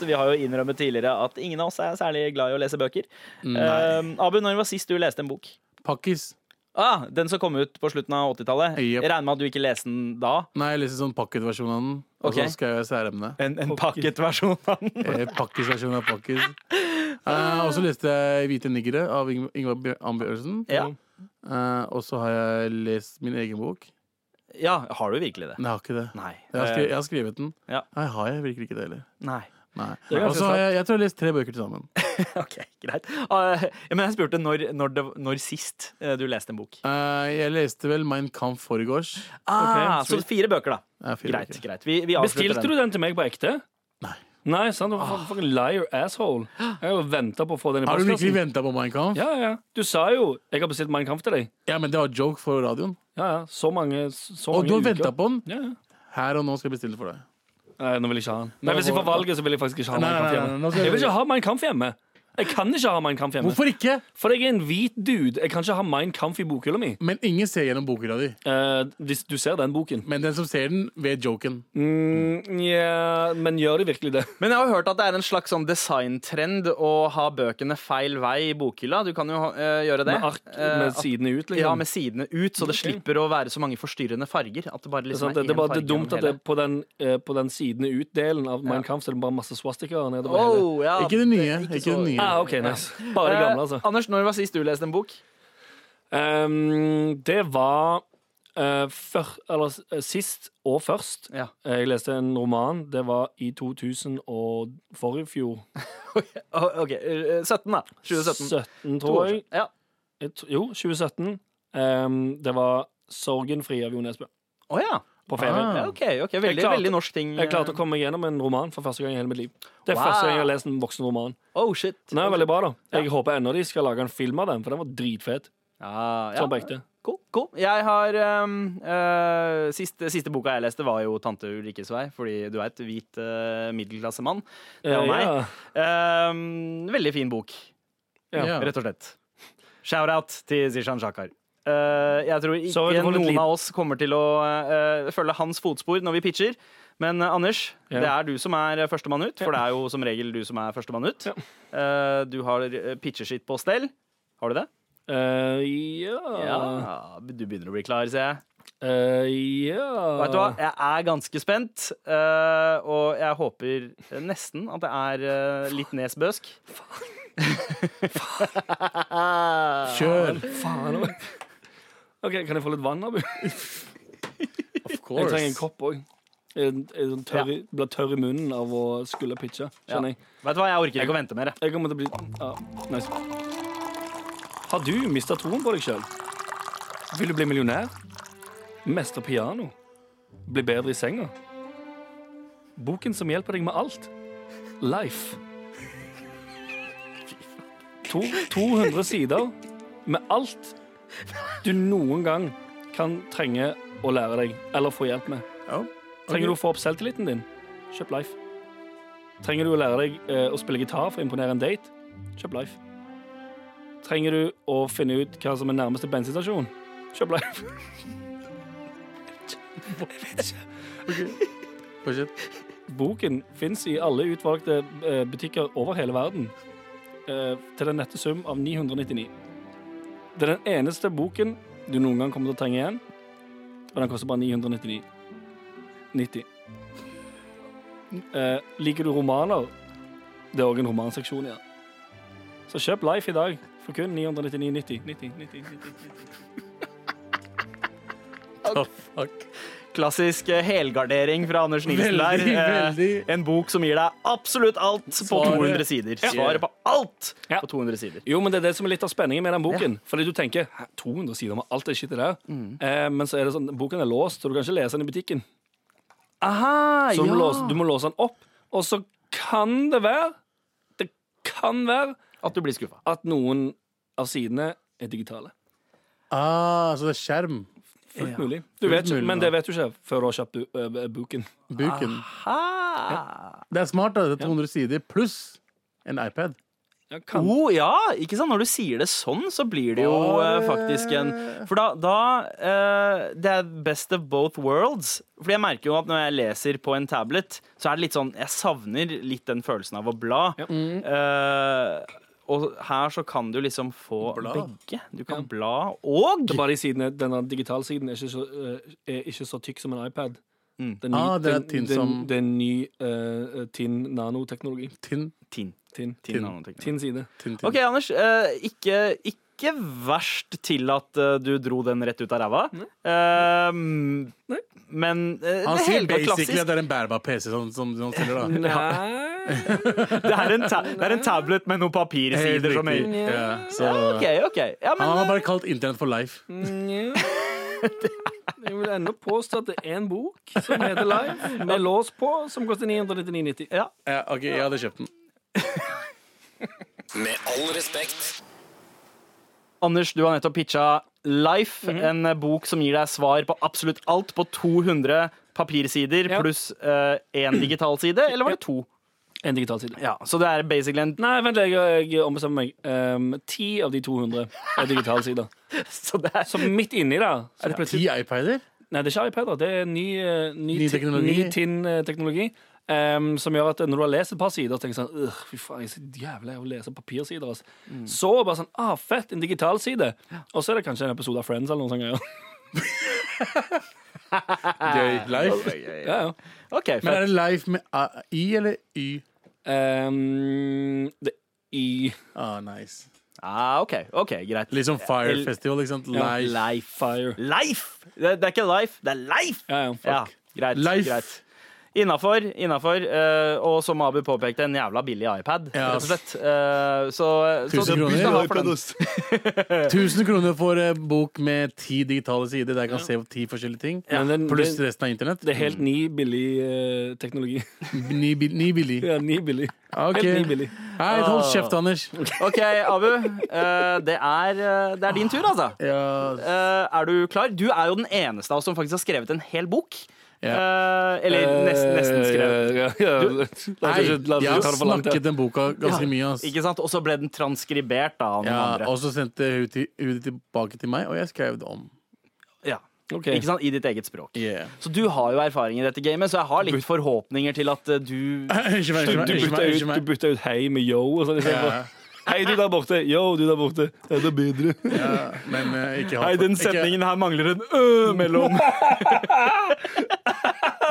S3: Vi har jo innrømmet tidligere at ingen av oss er særlig glad i å lese bøker. Eh, Abu, når var sist du leste en bok?
S2: Pakkis.
S3: Ah, den som kom ut på slutten av 80-tallet.
S2: Yep.
S3: Jeg Regner med at du ikke leste den da.
S2: Nei, jeg leser sånn pakketversjon av den. Og
S3: Ok.
S2: så skrev jeg særemne.
S3: En, en pakket versjon av den.
S2: Eh, Pakkisversjon av pakkis. Eh, og så leste jeg 'Hvite niggere' av Ing- Ingvar Bjør- Ambjørnsen.
S3: Ja.
S2: Eh, og så har jeg lest min egen bok.
S3: ja, har du virkelig det?
S2: Nei, jeg har ikke det.
S3: Nei.
S2: Jeg har, skri jeg har skrevet den.
S3: Ja.
S2: Nei, har jeg virkelig ikke det heller.
S3: Nei.
S2: Nei.
S6: Det er ganske
S2: Og så har jeg, jeg tror jeg har lest tre bøker til sammen.
S3: Ok, greit. Ah, ja, men jeg spurte når, når, det, når sist eh, du leste en bok.
S2: Eh, jeg leste vel Mein Kampf foregårs.
S3: Ah,
S6: ok,
S3: så fire bøker, da.
S2: Ja, fire
S3: greit.
S2: bøker.
S3: greit. Vi, vi avslutter
S6: Bestilte du den til meg på ekte?
S2: Nei. Ah.
S6: Nei, sant? Du var fucking liar asshole. Jeg har jo venta på å få den i
S2: Har du virkelig
S6: postkassen.
S2: venta på Mein Kampf? Ja.
S6: Ja, ja. Du sa jo 'jeg har bestilt Mein Kampf til deg'.
S2: men det var joke for radioen.
S6: Ja, ja. Så mange, så
S2: Og
S6: mange
S2: du har
S6: uker.
S2: venta på den.
S6: Ja, ja.
S2: Her og nå skal jeg bestille for deg.
S6: Nei, nå vil jeg ikke ha den. Nei, Hvis jeg
S2: får-
S6: får valget, så vil jeg faktisk ikke ha
S2: Nei,
S6: Mein Kampf
S2: nei, nei, nei, nå
S6: hjemme.
S2: skal
S6: Jeg vil
S2: jeg-
S6: ikke ha Mein Kampf hjemme. Jeg kan ikke ha Mein Kampf hjemme.
S2: Hvorfor ikke?
S6: For jeg er en hvit dude. Jeg kan ikke ha Mein Kampf i bokhylla mi.
S2: Men ingen ser gjennom bokhylla di.
S6: Eh, hvis du ser den boken.
S2: Men den som ser den, vet joken.
S6: Mm, ja, men gjør de virkelig det?
S3: Men jeg har hørt at det er en slags sånn designtrend å ha bøkene feil vei i bokhylla. Du kan jo eh, gjøre det.
S6: Med ark
S3: Eh,
S6: med
S3: at-
S6: sidene ut, liksom.
S3: Ja, med sidene ut, så det slipper å være så mange forstyrrende farger. At det bare
S6: det er,
S3: liksom
S6: sant, det, det
S3: én
S6: er bare det
S3: farge
S6: er dumt
S3: gjennom
S6: at det,
S3: hele.
S6: på, den, eh, på den sidene ut-delen av Mein Kampf så er det bare masse swastikaer nedover hele.
S3: Wow, ja,
S2: Ikke den
S3: det-
S2: nye. Ikke
S3: så-
S2: den nye.
S6: Ah, OK, nice. Bare de gamle, altså.
S3: Oh. Eh, Anders, når var sist du leste en bok?
S6: Um, det var eh, før, eller, s- eh, sist og først. Eh,
S3: Ja.
S6: Jeg leste en roman. Det var i 2000 og forrige fjor.
S3: Å, OK, eh, 17, da. 2017.
S6: 17,
S3: To år
S6: tror jeg.
S3: siden. Ja.
S6: Jeg tr- Jo, 2017. Um, det var 'Sorgenfri' av Jo Nesbø.
S3: Å ja.
S6: På ferie.
S2: Ah.
S3: ja. OK, ok, veldig,
S6: Jeg klarte-
S3: veldig norsk ting.
S6: Jeg klarte å komme meg gjennom en roman for første gang i hele mitt liv. Det er
S3: Wow.
S6: første gang jeg har lest en voksen roman.
S3: Oh, shit.
S6: Den er veldig bra, da. Jeg håper ennå de skal lage en film av den, for den var dritfet.
S3: Ja, ja.
S6: Sånn på ekte.
S3: Cool, cool. Jeg har ehm, eh, siste, siste boka jeg leste, var jo 'Tante Ulrikkes vei', fordi du er et hvit eh, middelklassemann. Det var
S6: Eh,
S3: meg.
S6: ja.
S3: Ehm, veldig fin bok,
S6: Ja.
S2: Ja.
S3: rett og slett. Shout-out til Zishan Shakar. Eh, jeg tror ikke
S6: Så vi får litt
S3: noen
S6: lyd.
S3: av oss kommer til å eh, følge hans fotspor når vi pitcher. Men eh, Anders,
S6: Ja.
S3: det er du som er eh, førstemann ut, for det er jo som regel du som er førstemann ut. Eh, du har eh, pitcherskitt på stell. Har du det?
S6: Eh, ja.
S3: Ja, Du begynner å bli klar, ser jeg.
S6: Eh, ja.
S3: Vet du hva, jeg er ganske spent, eh, og jeg håper nesten at det er eh, litt nesbøsk.
S2: Kjør!
S6: Faen òg. OK, kan jeg få litt vann, Abu?
S2: Of
S6: Jeg
S2: course.
S6: trenger en kopp òg. Jeg, jeg sånn tørr, i- blir tørr i munnen av å skulle pitche,
S3: Ja.
S6: kjenner jeg.
S3: Vet du hva, jeg orker ikke å vente mer. jeg.
S6: Jeg kommer til å bli ja, nice. Har du mista troen på deg sjøl? Vil du bli millionær? Mestre piano? Bli bedre i senga? Boken som hjelper deg med alt? Life. To, 200 sider med alt du noen gang kan trenge å lære deg eller få hjelp med.
S2: Ja.
S6: Trenger du å få opp selvtilliten din? Kjøp Life. Trenger du å lære deg eh, å spille gitar for å imponere en date? Kjøp Life. Trenger du å finne ut hva som er nærmeste bensinstasjon? Kjøp Life.
S2: Fortsett.
S6: Boken fins i alle utvalgte eh, butikker over hele verden eh, til den nette sum av 999. Det er den eneste boken du noen gang kommer til å trenge igjen, og den koster bare 999. 90. Eh, liker du romaner? Det er òg en romanseksjon, ja. Så kjøp Life i dag for kun 999,90. 90, 90, 90.
S2: Fuck.
S3: Klassisk eh, helgardering fra Anders Nilsen
S2: Veldig,
S3: der. Eh,
S2: veldig.
S3: En bok som gir deg absolutt alt på
S2: Svaret.
S3: 200 sider. Svaret på alt
S6: Ja.
S3: på 200 sider.
S6: Jo, men det er det som er litt av spenningen med den boken. Fordi du tenker "Hæ, 200 sider med alt det shitet der.
S2: Mm.
S6: Eh, men så er det sånn, boken er låst, så du kan ikke lese den i butikken.
S2: Ah,
S3: Aha,
S6: Så du, må låse, du må låse den opp. Og så kan det være Det kan være
S3: At du blir skuffa.
S6: at noen av sidene er digitale.
S2: Ah, så det er skjerm.
S6: Fullt mulig. Du vet, ikke-
S2: mulig,
S6: men
S2: ja.
S6: det vet du ikke før du har kjøpt bu- ø, ø, boken.
S2: Buken.
S3: Ah.
S2: Det er smart, da. Det er 200 sider pluss en iPad.
S6: Ja, kan.
S3: Oh, ja, ikke sant? Når du sier det sånn, så blir det jo eh, faktisk en For da, da eh, Det er best of both worlds. Fordi jeg merker jo at når jeg leser på en tablet, så er det litt sånn Jeg savner litt den følelsen av å bla. Eh, og her så kan du liksom få
S2: Bla.
S3: begge. Du kan bla og
S6: Det er bare de sidene, denne digitale-siden er, ikke så, ø, er ikke så tykk som en iPad. Det er ny,
S2: Ah, det er
S6: det,
S2: tynn
S6: det,
S2: som-
S6: det er ny ø, ø, tinn nanoteknologi.
S2: Tinn,
S3: Tin.
S6: Tinn.
S3: Tin nanoteknologi.
S6: Tinn side.
S2: tinn, tinn.
S3: OK, Anders. eh, ikke, ikke verst til at eh, du dro den rett ut av ræva. Eh, Men uh,
S2: Han sier
S3: helt
S2: basically
S3: klassisk.
S2: at det er en bærbar PC som, som, som han selger, da.
S6: Nei
S3: Det er en, ta det er en tablet med noen papirsider som
S2: riktig.
S3: er
S2: Ja. Så,
S3: ja, OK, OK. Ja, men,
S2: han har bare kalt Internett for Life.
S6: Jeg vil ennå påstå at det er en bok som heter Live, med lås på, som koster 999,90.
S3: eh, ja.
S2: Ja, ok, jeg hadde kjøpt den.
S5: Med all respekt.
S3: Anders, du har nettopp pitcha Life, en eh, bok som gir deg svar på absolutt alt på 200 papirsider
S6: Ja.
S3: pluss én digital side, eller var det to?
S6: En digital side.
S3: Ja, Så det er basically en
S6: Nei, vent, jeg, jeg ombestemmer meg. Um, Ti av de 200 er digitale sider.
S3: så det er,
S6: Så midt inni der så
S2: Ti
S6: plutselig,
S2: iPader?
S6: Nei, det er ikke iPader. Det er ny, eh, ny,
S2: Ny
S6: ti-
S2: teknologi.
S6: Ny tin, eh, teknologi em, som gjør at når du har lest et par sider, så tenker du sånn «Ugh, Fy faen, jeg er så jævlig av å lese papirsider. Altså. Så bare sånn Ah, fett, en digital side. Og så er det kanskje en episode av Friends eller noe sånt. greier.
S3: Ah.
S2: Gøy. Life.
S6: Ja, ja.
S3: OK,
S2: Men
S3: fett.
S2: er det Life med A- I eller Y?
S6: Em, det, I
S2: Ah, nice.
S3: Ah, ok, ok, greit.
S2: Litt som Fire
S3: L-
S2: Festival, ikke sant?
S6: Ja,
S2: Life.
S6: Fire.
S3: Life! Det, det er ikke life, det er life!
S6: Ja, ja, fuck.
S3: Ja, greit.
S2: Life.
S3: greit. Innafor, innafor. eh, og som Abu påpekte, en jævla billig iPad,
S2: Ja.
S3: rett og slett. Eh, så, så
S2: Tusen
S3: du
S2: kroner.
S3: skal ha for den.
S2: 1000 kroner for eh, bok med ti digitale sider der jeg kan se ti forskjellige ting.
S6: Men den-
S2: Pluss
S6: den-
S2: resten av internett.
S6: Det er helt ny billig eh, teknologi.
S2: Ni, bi- ni billig.
S6: ja, ny billig.
S2: Ok.
S6: Helt ny billig.
S3: Eh,
S6: Ah.
S2: Nei, hold kjeft, Anders.
S3: OK, Abu. eh, det, er, eh, det er din tur, altså.
S2: Ja,
S3: Eh, er du klar? Du er jo den eneste av oss som faktisk har skrevet en hel bok. Eh, eller nesten, nesten skrevet.
S6: Eh, ja, ja. La oss ikke- la
S2: Nei,
S6: oss ikke ta
S2: jeg har
S6: det for langt, ja.
S2: snakket den boka ganske mye. ass.
S3: Ikke sant? Og så ble den transkribert da, av noen
S2: Ja,
S3: andre.
S2: og så sendte hun, til, hun det tilbake til meg, og jeg skrev det om.
S3: Ja.
S6: Ok.
S3: Ikke sant? I ditt eget språk.
S2: Yeah.
S3: Så du har jo erfaring i dette gamet, så jeg har litt forhåpninger til at eh, du
S2: Unnskyld meg,
S6: Du,
S2: unnskyld meg.
S6: du
S2: Unnskyld
S6: bytta
S2: meg,
S6: ut,
S2: unnskyld
S6: du
S2: meg.
S6: bytta ut hei med yo. Og sånn, i stedet
S2: Ja.
S6: for, hei, du der borte. Yo, du der borte. Ja, det er bedre.
S2: Ja, men eh, ikke
S3: Nei, den
S2: ikke-
S3: setningen her mangler en ø mellom.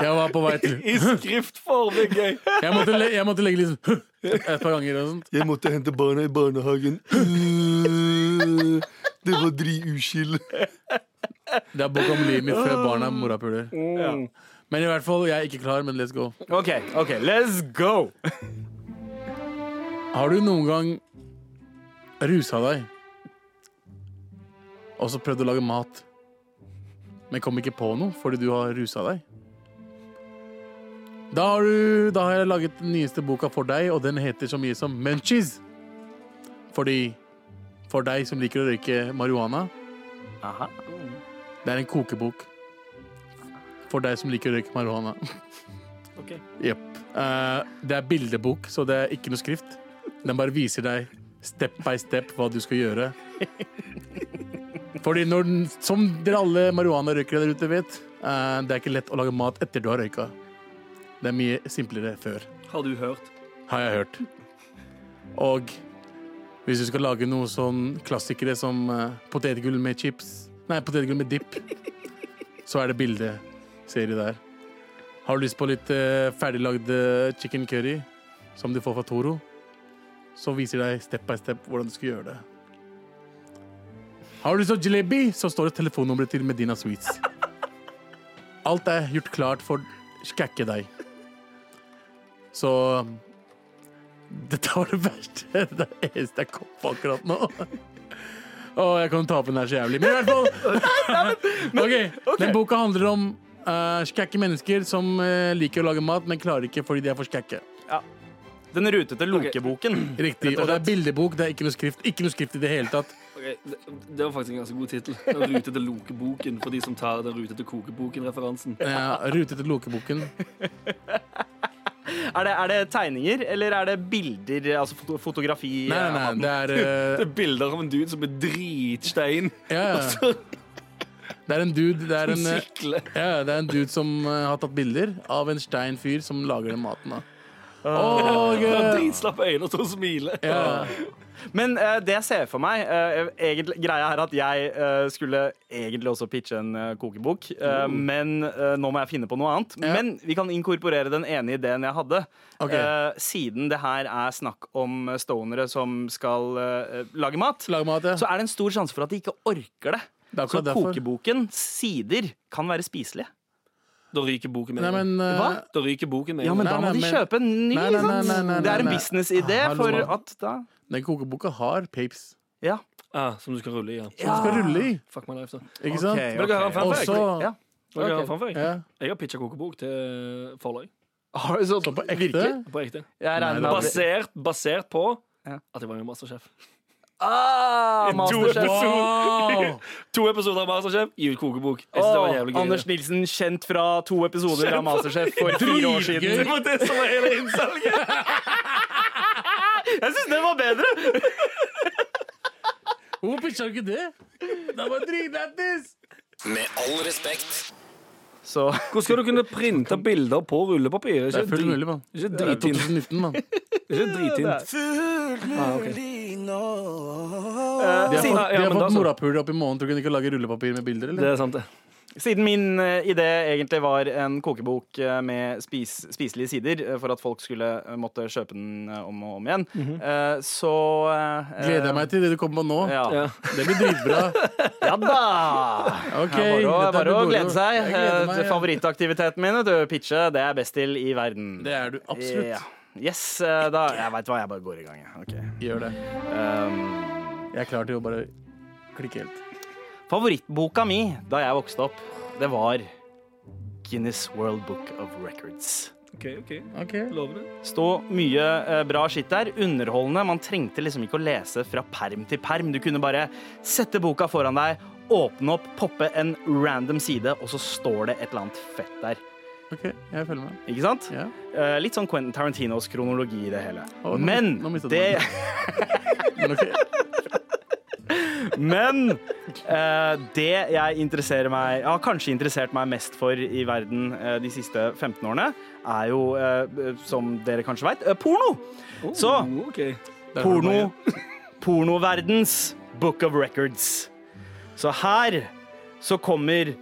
S2: Jeg var på vei til
S6: I skriftform, det er gøy.
S2: Jeg måtte, le, jeg måtte legge litt sånn et par ganger og sånt.
S1: Jeg måtte hente barna i barnehagen. Øh, Det var drituskild.
S2: Det er bok om livet mitt før barna morapuler. Men i hvert fall, jeg er ikke klar, men let's go.
S3: OK, ok, let's go!
S2: Har du noen gang rusa deg og så prøvd å lage mat, men kom ikke på noe fordi du har rusa deg? Da har, du, da har jeg laget den nyeste boka for deg, og den heter så mye som Munchies. Fordi for deg som liker å røyke marihuana,
S3: Aha.
S2: det er en kokebok. For deg som liker å røyke marihuana.
S6: Ok.
S2: Jepp. Eh, det er bildebok, så det er ikke noe skrift. Den bare viser deg step by step hva du skal gjøre. Fordi når den, som dere alle marihuanarøykere der ute vet, eh, det er ikke lett å lage mat etter du har røyka. Det er mye simplere før,
S6: Har du hørt?
S2: har jeg hørt. Og hvis du skal lage noe sånn klassikere som eh, potetgull med chips Nei, potetgull med dipp, så er det bildeserie der. Har du lyst på litt eh, ferdiglagd eh, chicken curry, som du får fra Toro, så viser deg step by step hvordan du skal gjøre det. Har du lyst på jalebi, så står det telefonnummeret til Medina Sweets. Alt er gjort klart for skakke deg. Så dette var det verste Det eneste jeg kom på akkurat nå. Å, jeg kan tape den her så jævlig. Men i hvert fall Ok, Den boka handler om uh, skakke mennesker som eh, liker å lage mat, men klarer ikke fordi de er for skakke.
S3: Den rutete lokeboken.
S2: Riktig. Og det er bildebok, det er ikke noe skrift. Ikke noe skrift i det hele tatt.
S6: Ok, det, det var faktisk en ganske god tittel. Den rutete lokeboken for de som tar den rutete kokeboken-referansen.
S2: Ja, Rutete lokeboken.
S3: Er det, er det tegninger, eller er det bilder, altså foto fotografi?
S2: Nei,
S3: eh,
S2: nei, nei, det er eh,
S6: Det er bilder av en dude som blir dritstein.
S2: Ja, ja. Det er en dude Det er en eh,
S6: Sikle.
S2: Ja, det er en dude som eh, har tatt bilder av en stein fyr som lager den maten. da. Og
S6: Han har
S2: eh,
S6: Dritslappe øyne og står og smiler.
S2: ja,
S3: Men eh, det jeg ser for meg eh, egentlig, Greia er at jeg eh, skulle egentlig også pitche en eh, kokebok, eh, men eh, nå må jeg finne på noe annet.
S2: Mm. Ja.
S3: Men vi kan inkorporere den ene ideen jeg hadde.
S2: Ok.
S3: Eh, siden det her er snakk om stonere som skal eh, lage mat,
S2: lage mat, ja.
S3: så er det en stor sjanse for at de ikke orker det.
S2: Det er
S3: Så
S2: akkurat derfor.
S3: kokebokens sider kan være spiselige.
S6: Da ryker boken min.
S2: Nei, men eh,
S3: Hva?
S6: Da ryker boken min.
S3: Ja, men
S2: Nei,
S3: da må
S2: nei,
S3: de
S2: men-
S3: kjøpe en ny,
S2: Nei, nei, nei, nei, nei,
S3: sant? Det er en
S2: nei.
S3: businessidé
S2: Hallo,
S3: for
S2: mann.
S3: at da
S2: Den kokeboka har papes
S3: Ja.
S6: Ah, som du skal rulle i. Ja.
S2: som du skal rulle i.
S6: Fuck my life, da.
S2: Ikke sant?
S3: Ok,
S6: Vil dere ha en
S3: ok.
S6: fun fact?
S2: Også-
S3: Ja.
S6: Vil dere ha en
S3: Ok.
S6: fun fact?
S2: Ja.
S6: Jeg har pitcha kokebok til eh, forlag.
S3: Har du sånn så-
S2: Så Sånn på ekte?
S3: Virkelig?
S6: På ekte.
S3: Jeg regner med at
S6: Basert, basert på
S3: Ja.
S6: at jeg var med i Masterchef.
S3: ah, Masterchef.
S6: Wow.
S2: Wow!
S6: To episoder av Masterchef, gi ut kokebok. Jeg synes det var en
S3: Åh,
S6: jævlig gøy.
S3: Anders Nilsen, kjent fra to episoder av Masterchef for fire år
S2: Dritgøy.
S3: siden.
S6: Det var det som var hele innsalget.
S3: Jeg syns den var bedre!
S2: Hvorfor pitcha du ikke det? Det var dritlættis!
S5: Med all respekt.
S3: Så
S6: Hvordan skal du kunne printe bilder på rullepapir?
S2: Det er fullt mulig, mann. Det
S6: Ikke
S2: er
S6: dritint.
S2: 2019, mann.
S6: Ikke dritint. Ah, ok.
S3: eh,
S2: De har fått,
S6: Siden-
S2: de
S6: ja,
S2: har
S6: men da
S2: fått
S6: så.
S2: morapuler opp i månen. Tror du ikke de kan lage rullepapir med bilder,
S6: Det
S2: eller?
S6: er sant, det.
S3: Siden min eh, idé egentlig var en kokebok eh, med spis, spiselige sider, eh, for at folk skulle eh, måtte kjøpe den eh, om og om igjen, eh, så eh,
S2: Gleder jeg meg til det du kommer på nå.
S3: Ja.
S6: Ja.
S2: Det blir dritbra.
S3: ja da!
S2: Ok,
S3: Det er bare å-
S2: dette
S3: bare å
S2: blir moro.
S3: glede seg.
S2: Jeg gleder meg,
S3: Eh,
S2: ja.
S3: Favorittaktiviteten min, vet du, pitche, det er best til i verden.
S2: Det er du absolutt.
S3: Ja. Yes, eh, da Jeg veit hva, jeg bare går i gang, jeg. Ok.
S2: Gjør det.
S3: Um,
S2: Jeg er klar til å bare klikke helt.
S3: favorittboka mi da jeg vokste opp, det var Guinness World Book of Records.
S6: OK, OK.
S2: Ok.
S6: Lover det.
S3: Stå mye eh, bra skitt der. Underholdende. Man trengte liksom ikke å lese fra perm til perm. Du kunne bare sette boka foran deg, åpne opp, poppe en random side, og så står det et eller annet fett der.
S2: Ok, jeg følger med.
S3: Ikke sant?
S2: Ja.
S3: Eh, Litt sånn Quentin Tarantinos kronologi i det hele.
S2: Å, nå-
S3: Men
S2: nå mistet du
S3: det
S2: meg. Men ok.
S3: Men eh, det jeg interesserer meg har kanskje interessert meg mest for i verden eh, de siste 15 årene, er jo, eh, som dere kanskje veit, porno. Så
S6: Oh, OK.
S2: Der har du
S3: porno
S2: meg.
S3: pornoverdens Book of Records. Så her så kommer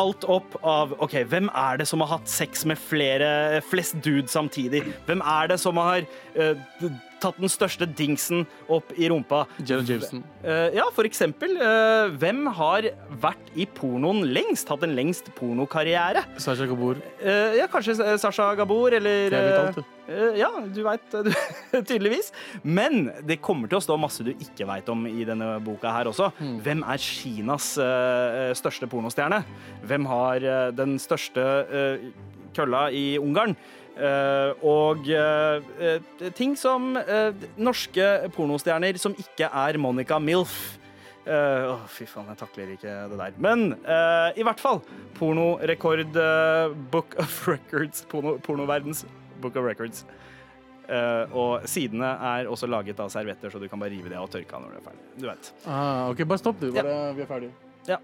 S3: alt opp av OK, hvem er det som har hatt sex med flere, flest dudes samtidig? Hvem er det som har eh, d- tatt den største dingsen opp i rumpa?
S2: Jenna Jameson.
S3: Eh, ja, for eksempel. eh, hvem har vært i pornoen lengst? Hatt en lengst pornokarriere?
S2: Sasha Gabor.
S3: Eh, ja, kanskje eh, Sasha Gabor, eller
S2: Jeg vet alt, du.
S3: eh, eh, Ja, du veit tydeligvis. Men det kommer til å stå masse du ikke veit om i denne boka her også.
S2: Hmm.
S3: Hvem er Kinas eh, største pornostjerne? Hvem har eh, den største eh, kølla i Ungarn? Eh, og eh, eh, ting som eh, norske pornostjerner som ikke er Monica Milf. Eh, Åh, fy faen, jeg takler ikke det der. Men eh, i hvert fall pornorekord eh, Book of Records. Porno, pornoverdens Book of Records. Eh, og sidene er også laget av servietter, så du kan bare rive det av og tørke av når du er ferdig. Du vet.
S2: Ah, ok, bare stopp, du. Bare, vi er ferdige.
S3: Ja.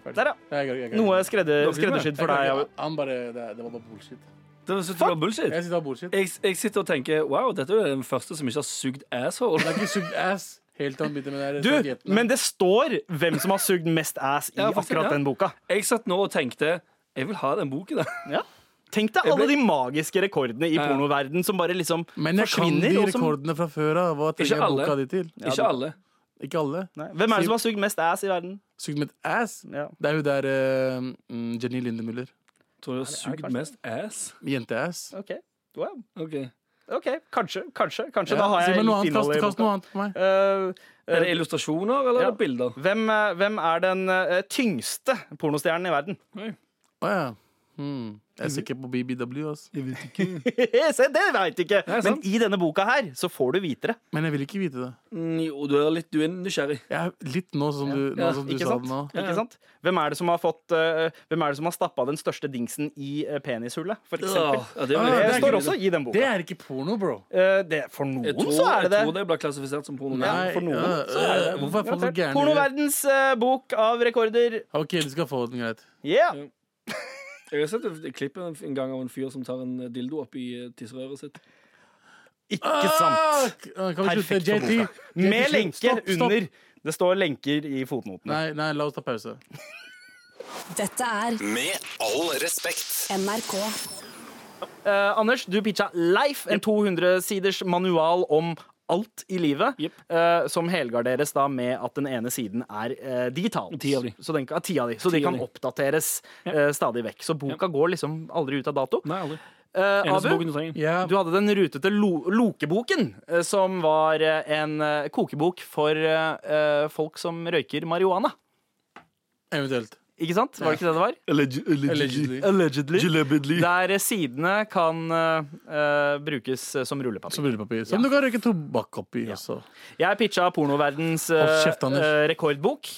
S3: Der, ja.
S2: Jeg, jeg, jeg, jeg.
S3: Noe skredder,
S6: Nå blir det.
S3: skreddersydd for deg.
S2: Han bare, det, det var bare bullshit.
S6: Det var- det var bullshit.
S2: Jeg sitter og har bullshit.
S6: Jeg, jeg sitter og tenker wow, dette er den første som ikke har sugd asshole.
S2: Jeg har ikke sugd ass helt til han begynte med det
S3: Du,
S2: der serviettene.
S3: men det står hvem som har sugd mest ass i
S6: Ja, faktisk,
S3: akkurat
S6: ja.
S3: den boka.
S6: Jeg satt nå og tenkte jeg vil ha den boken. der.
S3: Ja. Tenk deg alle de magiske rekordene i
S6: ja.
S3: pornoverden som bare liksom
S2: Men jeg kan de
S3: forsvinner. og som-
S2: rekordene fra før av. Hva
S6: Ikke
S2: trenger jeg
S6: alle.
S2: boka di til?
S6: Ikke alle.
S2: Ikke alle.
S3: Nei. Hvem er det som har sugd mest ass i verden?
S2: Sugd med et ass?
S3: Ja.
S2: Det er jo der eh, mm, Jenny Lindemüller.
S6: Tror du har sugd
S3: kanskje
S6: mest ass?
S2: Jenteass.
S3: OK. Wow.
S6: Ok.
S3: OK, kanskje, kanskje. kanskje.
S2: Ja,
S3: Da har
S2: si
S3: jeg
S2: meg noe
S3: litt
S2: annet,
S3: innhold
S2: kast,
S3: i
S2: kast
S3: boka.
S2: noe annet på meg.
S3: Eh,
S6: Er
S3: eh,
S6: det illustrasjoner eller
S3: Ja.
S6: er det bilder?
S3: hvem, eh, hvem er den eh, tyngste pornostjernen i verden?
S2: Å ja. Hmm. Jeg er sikker på BBW, altså.
S3: Se, det veit ikke!
S6: Nei,
S3: Men
S6: sant.
S3: i denne boka her så får du vite det.
S2: Men jeg vil ikke vite det.
S6: Mm, Jo, du er litt du er nysgjerrig.
S2: Jeg er litt nå som du, nå
S6: Ja,
S2: som du
S3: Ikke
S2: sa
S3: sant?
S2: det nå.
S6: Ja, ja.
S3: Ikke sant? Hvem er det som har fått eh, Hvem er det som har stappa den største dingsen i eh, penishullet, for eksempel?
S6: Ja, det, er jo-
S2: Ah,
S3: Det
S2: det er
S3: står
S2: ikke-
S3: også i den boka.
S2: Det er ikke porno, bro.
S3: Eh, det, for noen
S6: jeg tror,
S3: så er det
S6: Jeg tror
S3: det.
S6: det blir klassifisert som porno.
S3: Ja.
S2: Nei,
S3: for noen,
S2: ja, øh, hvorfor er folk så
S3: Garantert.
S2: gærne?
S3: Pornoverdens eh, bok av rekorder.
S2: OK, du skal få den, greit.
S3: Yeah!
S6: Jeg har sett et klipp en en gang av en fyr som tar en dildo opp i eh, tisserøret sitt.
S3: Ikke sant?
S2: Ah, Kan vi slutte?
S3: Perfekt for
S2: JT.
S3: boka.
S2: JT,
S3: Med
S2: slutt.
S3: lenker
S2: Stopp, stopp.
S3: under. Det står lenker i fotnotene.
S2: Nei, nei, la oss ta pause.
S4: Dette er
S5: Med all respekt.
S4: NRK.
S3: Eh, Anders, du pitcha Leif, en 200-siders manual om alt i livet,
S6: Jep.
S3: eh, som helgarderes da med at den ene siden er eh, digital.
S6: Ti av de.
S3: Så den, kan- ti av de, så de
S6: Ti av
S3: kan
S6: de.
S3: oppdateres eh, stadig vekk. Så boka går liksom aldri ut av dato.
S6: Nei, aldri.
S3: Eh,
S6: Eneste boken
S3: Abu,
S6: du trenger.
S2: Ja.
S3: du hadde den rutete lo Lokeboken, eh, som var eh, en eh, kokebok for eh, eh, folk som røyker marihuana.
S2: Eventuelt.
S3: Ikke sant? Var det ikke det det var?
S1: Alleg- Allegedly.
S2: Allegedly.
S3: Allegedly.
S1: Allegedly.
S3: Der eh, sidene kan eh, eh, brukes som rullepapir.
S2: Som rullepapir. Som
S3: Ja.
S2: du kan røyke tobakk oppi også.
S3: Jeg pitcha pornoverdens eh,
S2: Hold kjeft, Anders.
S3: eh, rekordbok.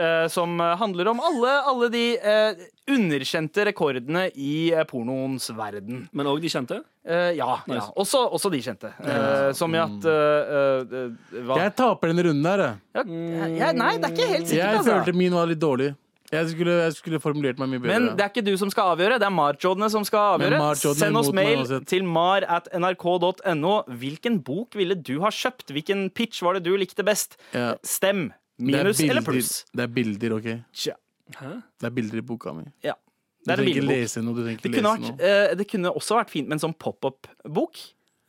S3: eh, som handler om alle, alle de eh, underkjente rekordene i eh, pornoens verden.
S6: Men òg de kjente.
S3: Eh, ja. ja.
S6: Nice.
S3: Også, også de kjente. Eh, som i at eh, eh, hva?
S2: Jeg taper denne runden her, jeg.
S3: Ja, jeg- Nei, det er ikke helt sikkert,
S2: Jeg
S3: altså.
S2: følte min var litt dårlig. Jeg skulle, jeg skulle formulert meg mye bedre.
S3: Men det er ikke du som skal avgjøre, det er marjodene som skal
S2: Men
S3: avgjøre.
S2: marjodene
S3: Send oss
S2: imot meg
S3: mail
S2: uansett.
S3: til mar at nrk.no. Hvilken bok ville du ha kjøpt? Hvilken pitch var det du likte best?
S2: Ja.
S3: Stem.
S2: Det er
S3: Minus eller
S2: bilder-
S3: pluss?
S2: Det er bilder, OK?
S3: Tja.
S2: Det er bilder i boka mi.
S3: Ja.
S2: Du
S3: Det er en
S2: trenger ikke
S3: bilbok.
S2: lese noe. Du trenger ikke
S3: Det kunne,
S2: lese
S3: vært,
S2: noe.
S3: eh, det kunne også vært fint med en sånn pop-up-bok.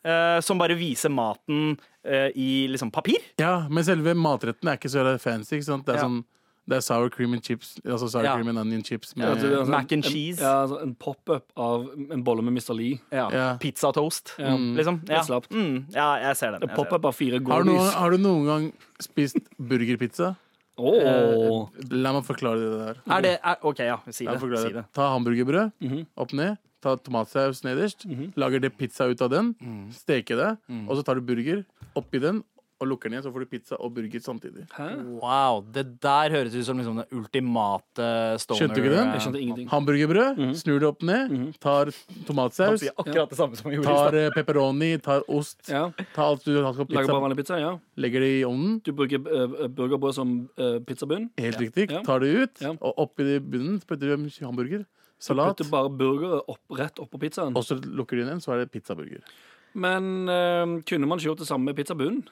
S3: eh, som bare viser maten eh, i liksom papir.
S2: Ja, Men selve matretten er ikke så jævla fancy. Ikke sant? Det er
S3: Ja.
S2: sånn det er sour cream and chips. Altså sour
S3: Ja.
S2: cream and onion chips.
S6: Ja,
S2: Med,
S6: altså, det er sånn-
S3: Mac and cheese.
S6: En, ja, altså, en pop-up av en bolle med Mr. Lee.
S3: Ja.
S2: Ja.
S3: Pizza toast,
S6: Ja.
S3: liksom. Ja.
S6: Litt slapt.
S3: Mm, ja, jeg ser den.
S6: En
S3: Jeg ser den.
S6: pop-up av fire
S2: har, du noen,
S6: goodies.
S2: har du noen gang spist burgerpizza?
S6: Eh, Åh.
S2: La meg forklare det der.
S3: Er det er, OK, ja. Si
S2: La
S3: det.
S2: meg forklare
S3: Si
S2: det.
S3: det. Mhm.
S2: Ta hamburgerbrød opp ned. Ta tomatsaus nederst. Lager det pizza ut av den.
S3: Mhm.
S2: Steke det. Og så tar du burger oppi den og lukker ned. Så får du pizza og burger samtidig.
S3: Wow, det der høres ut som liksom den ultimate stoner
S2: Skjønte du ikke den?
S6: Jeg
S3: Sånn
S6: skjønte ingenting.
S2: Hamburgerbrød.
S3: Mhm.
S2: Snur det opp ned. Tar
S3: eh,
S2: tomatsaus.
S3: akkurat det samme som Mhm. jeg gjorde i
S2: Tar eh, pepperoni. Tar ost.
S6: Ja.
S2: Ta alt du har på
S6: Lager bare
S2: pizza.
S6: vanlig pizza? Ja.
S2: Legger det i ovnen.
S6: Du bruker eh, burgerbrød som eh, pizzabunn?
S2: Helt riktig.
S6: Ja.
S2: Tar det ut.
S6: Ja.
S2: Og oppi det i bunnen putter du en hamburger. Salat.
S6: Putter bare burgere opp, rett oppå pizzaen.
S2: Og så lukker du den igjen, så er det pizzaburger.
S6: Men eh, kunne man ikke gjort det samme med pizzabunnen?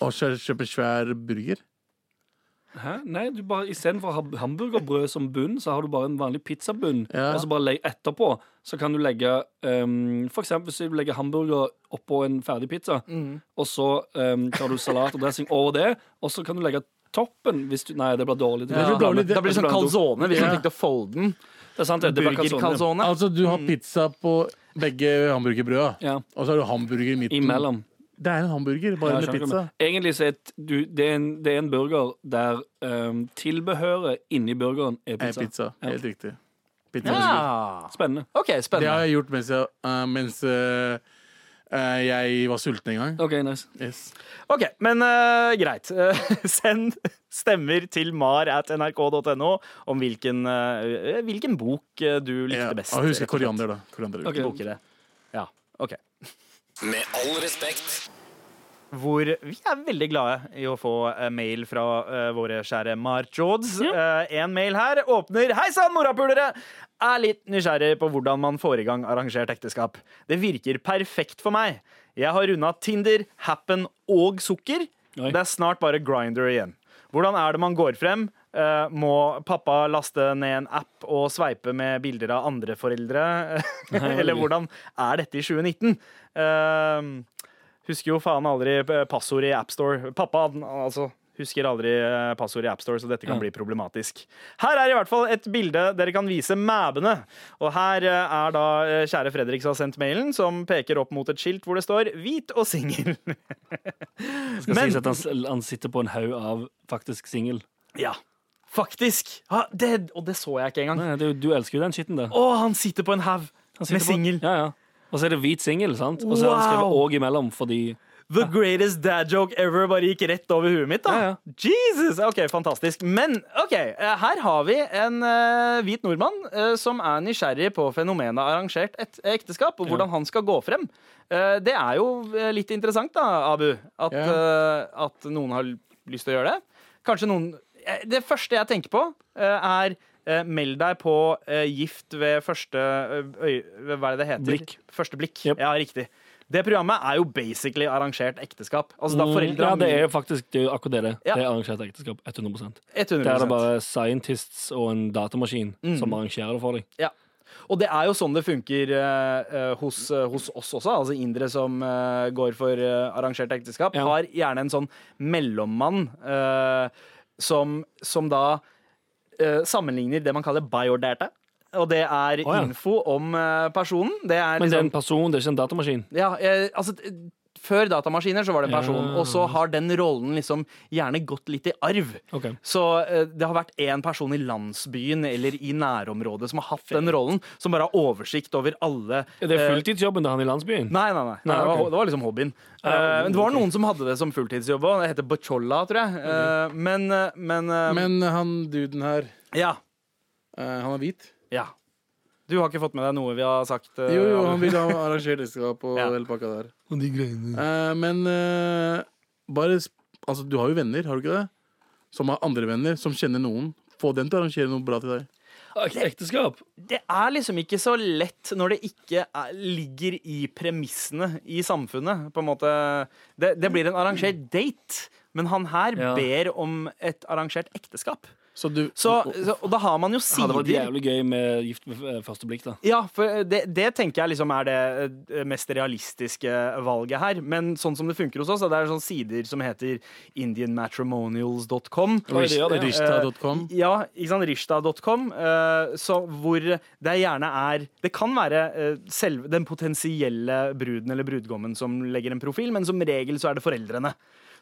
S2: Og så kjøper svær burger.
S6: Hæ? Nei, du bare istedenfor å ha hamburgerbrød som bunn, så har du bare en vanlig pizzabunn.
S2: Ja.
S6: Og så bare legg etterpå, så kan du legge um, For eksempel hvis du legger hamburger oppå en ferdig pizza,
S2: Mm.
S6: og så um, tar du salat og dressing over det, og så kan du legge toppen hvis du Nei, det blir dårlig.
S2: Det blir dårlig, det-
S3: Da blir det sånn calzone hvis man tenkte å folde den.
S6: Det er sant, det. det blir calzone.
S3: Burgercalzone.
S2: Altså, du har pizza på begge hamburgerbrøda,
S6: Mm. Ja.
S2: og så har du hamburger i midten.
S6: Imellom.
S2: Det er en hamburger, Mm. bare
S6: Ja, jeg
S2: med
S6: skjønner hva du
S2: pizza.
S6: mener. Egentlig så er et- du, det, er en, det er en burger der um, tilbehøret inni burgeren er
S2: Eh,
S6: pizza.
S2: pizza.
S6: Ja.
S2: Helt riktig. Pizza.
S3: Ja.
S6: Spennende.
S3: OK,
S2: Det har
S3: spennende.
S2: jeg gjort mens jeg, eh, mens, eh, eh, jeg var sulten en gang.
S6: OK, nice.
S2: Yes.
S3: Ok, Men eh, greit. Eh, send stemmer til mar at nrk.no om hvilken, eh, hvilken bok eh, du
S2: Ja.
S3: likte best.
S2: Og husk koriander, da. Koriander. er
S6: Ok.
S2: viktig.
S3: Bok i det. Ja, ok.
S5: Med all respekt.
S3: hvor vi er veldig glade i å få eh, mail fra eh, våre kjære Marjods. Eh, en mail her åpner Hei sann, morapulere! Er litt nysgjerrig på hvordan man får i gang arrangert ekteskap. Det virker perfekt for meg. Jeg har runda Tinder, Happen og Sukker.
S6: Oi.
S3: Det er snart bare Grinder igjen. Hvordan er det man går frem? Eh, må pappa laste ned en app og sveipe med bilder av andre foreldre? Eller hvordan er dette i 2019? Eh, Husker jo faen aldri eh, passord i AppStore. Pappa han, altså, husker aldri eh, passord i AppStore, så dette kan bli problematisk. Her er i hvert fall et bilde dere kan vise mæbene. Og her eh, er da eh, kjære Fredrik som har sendt mailen, som peker opp mot et skilt hvor det står 'hvit og singel'.
S6: Skal
S3: Men-
S6: sies at han, s- han sitter på en haug av faktisk singel.
S3: ja, faktisk. Ja, det, og det så jeg ikke engang.
S6: Nei, det er jo- Du elsker jo den skitten, det.
S3: Å, han sitter på en haug
S6: Han
S3: med
S6: sitter på-
S3: singel.
S6: Ja, ja. Og så er det hvit singel, sant? Og så har han skrevet
S3: Wow!
S6: og imellom, fordi
S3: The greatest dad joke ever bare gikk rett over huet mitt, da.
S6: Ja, ja.
S3: Jesus! OK, fantastisk. Men OK, eh, her har vi en eh, hvit nordmann eh, som er nysgjerrig på fenomenet arrangert et eh, ekteskap, og hvordan han skal gå frem. Eh, det er jo eh, litt interessant, da, Abu, at, eh, at noen har lyst til å gjøre det. Kanskje noen eh, Det første jeg tenker på, eh, er eh, meld deg på eh, gift ved første eh, øy, Hva er det det heter?
S6: Blikk.
S3: Første blikk.
S6: Yep.
S3: Ja, riktig. Det programmet er jo basically arrangert ekteskap. Altså da foreldra
S6: Mm. Ja, det er jo faktisk det er jo akkurat det det. er.
S3: Ja.
S6: Det er arrangert ekteskap. 100 Det
S3: 100
S6: er Mm. det bare scientists og en datamaskin som arrangerer det for deg.
S3: Ja. Og det er jo sånn det funker eh, eh, hos, eh, hos oss også. Altså indere som eh, går for eh, arrangert ekteskap, har gjerne en sånn mellommann eh, som, som da eh, sammenligner det man kaller biodata. Og det er
S6: ja.
S3: info om eh, personen. Det er
S6: Men det er
S3: liksom
S6: en person, det er ikke en datamaskin.
S3: ja, eh, altså t- Før datamaskiner så var det en person,
S6: Ja.
S3: og så har den rollen liksom gjerne gått litt i arv.
S6: Ok.
S3: Så eh, det har vært én person i landsbyen eller i nærområdet som har hatt den rollen, som bare har oversikt over alle
S6: Er det
S3: eh,
S6: fulltidsjobben til han i landsbyen?
S3: Nei, nei, nei.
S6: Nei,
S3: det, var,
S6: ok.
S3: det var liksom hobbyen. Eh, men det var noen som hadde det som fulltidsjobb òg. Det heter Bocholla, tror jeg. Eh, men, eh, men, eh,
S2: Men han duden her,
S3: Ja.
S2: eh, han er hvit?
S3: Ja. Du har ikke fått med deg noe vi har sagt? eh,
S2: Jo, jo,
S3: Abu?
S2: han vil ha arrangert ekteskap og
S3: Ja.
S2: hele pakka der.
S1: Og de greiene.
S2: Eh, men eh, bare sp- Altså, du har jo venner, har du ikke det? Som har andre venner, som kjenner noen. Få den til å arrangere noe bra til deg.
S6: Ekteskap?
S3: det er liksom ikke så lett når det ikke er, ligger i premissene i samfunnet, på en måte. Det, det blir en arrangert date, men han her
S6: Ja.
S3: ber om et arrangert ekteskap.
S2: Så du
S3: Så, eh, så, og da har man jo
S6: Ja, det var
S3: sider.
S6: jævlig gøy med gift ved f- eh, første blikk, da.
S3: Ja, for det, det tenker jeg liksom er det eh, mest realistiske valget her. Men sånn som det funker hos oss, er det er sånne sider som heter indianmatrimonials.com.
S6: Oi, det gjør det.
S2: Rista.com.
S3: Eh, Ja, ikke sant, rishta.com, eh, så hvor det gjerne er Det kan være eh, selve, den potensielle bruden eller brudgommen som legger en profil, men som regel så er det foreldrene.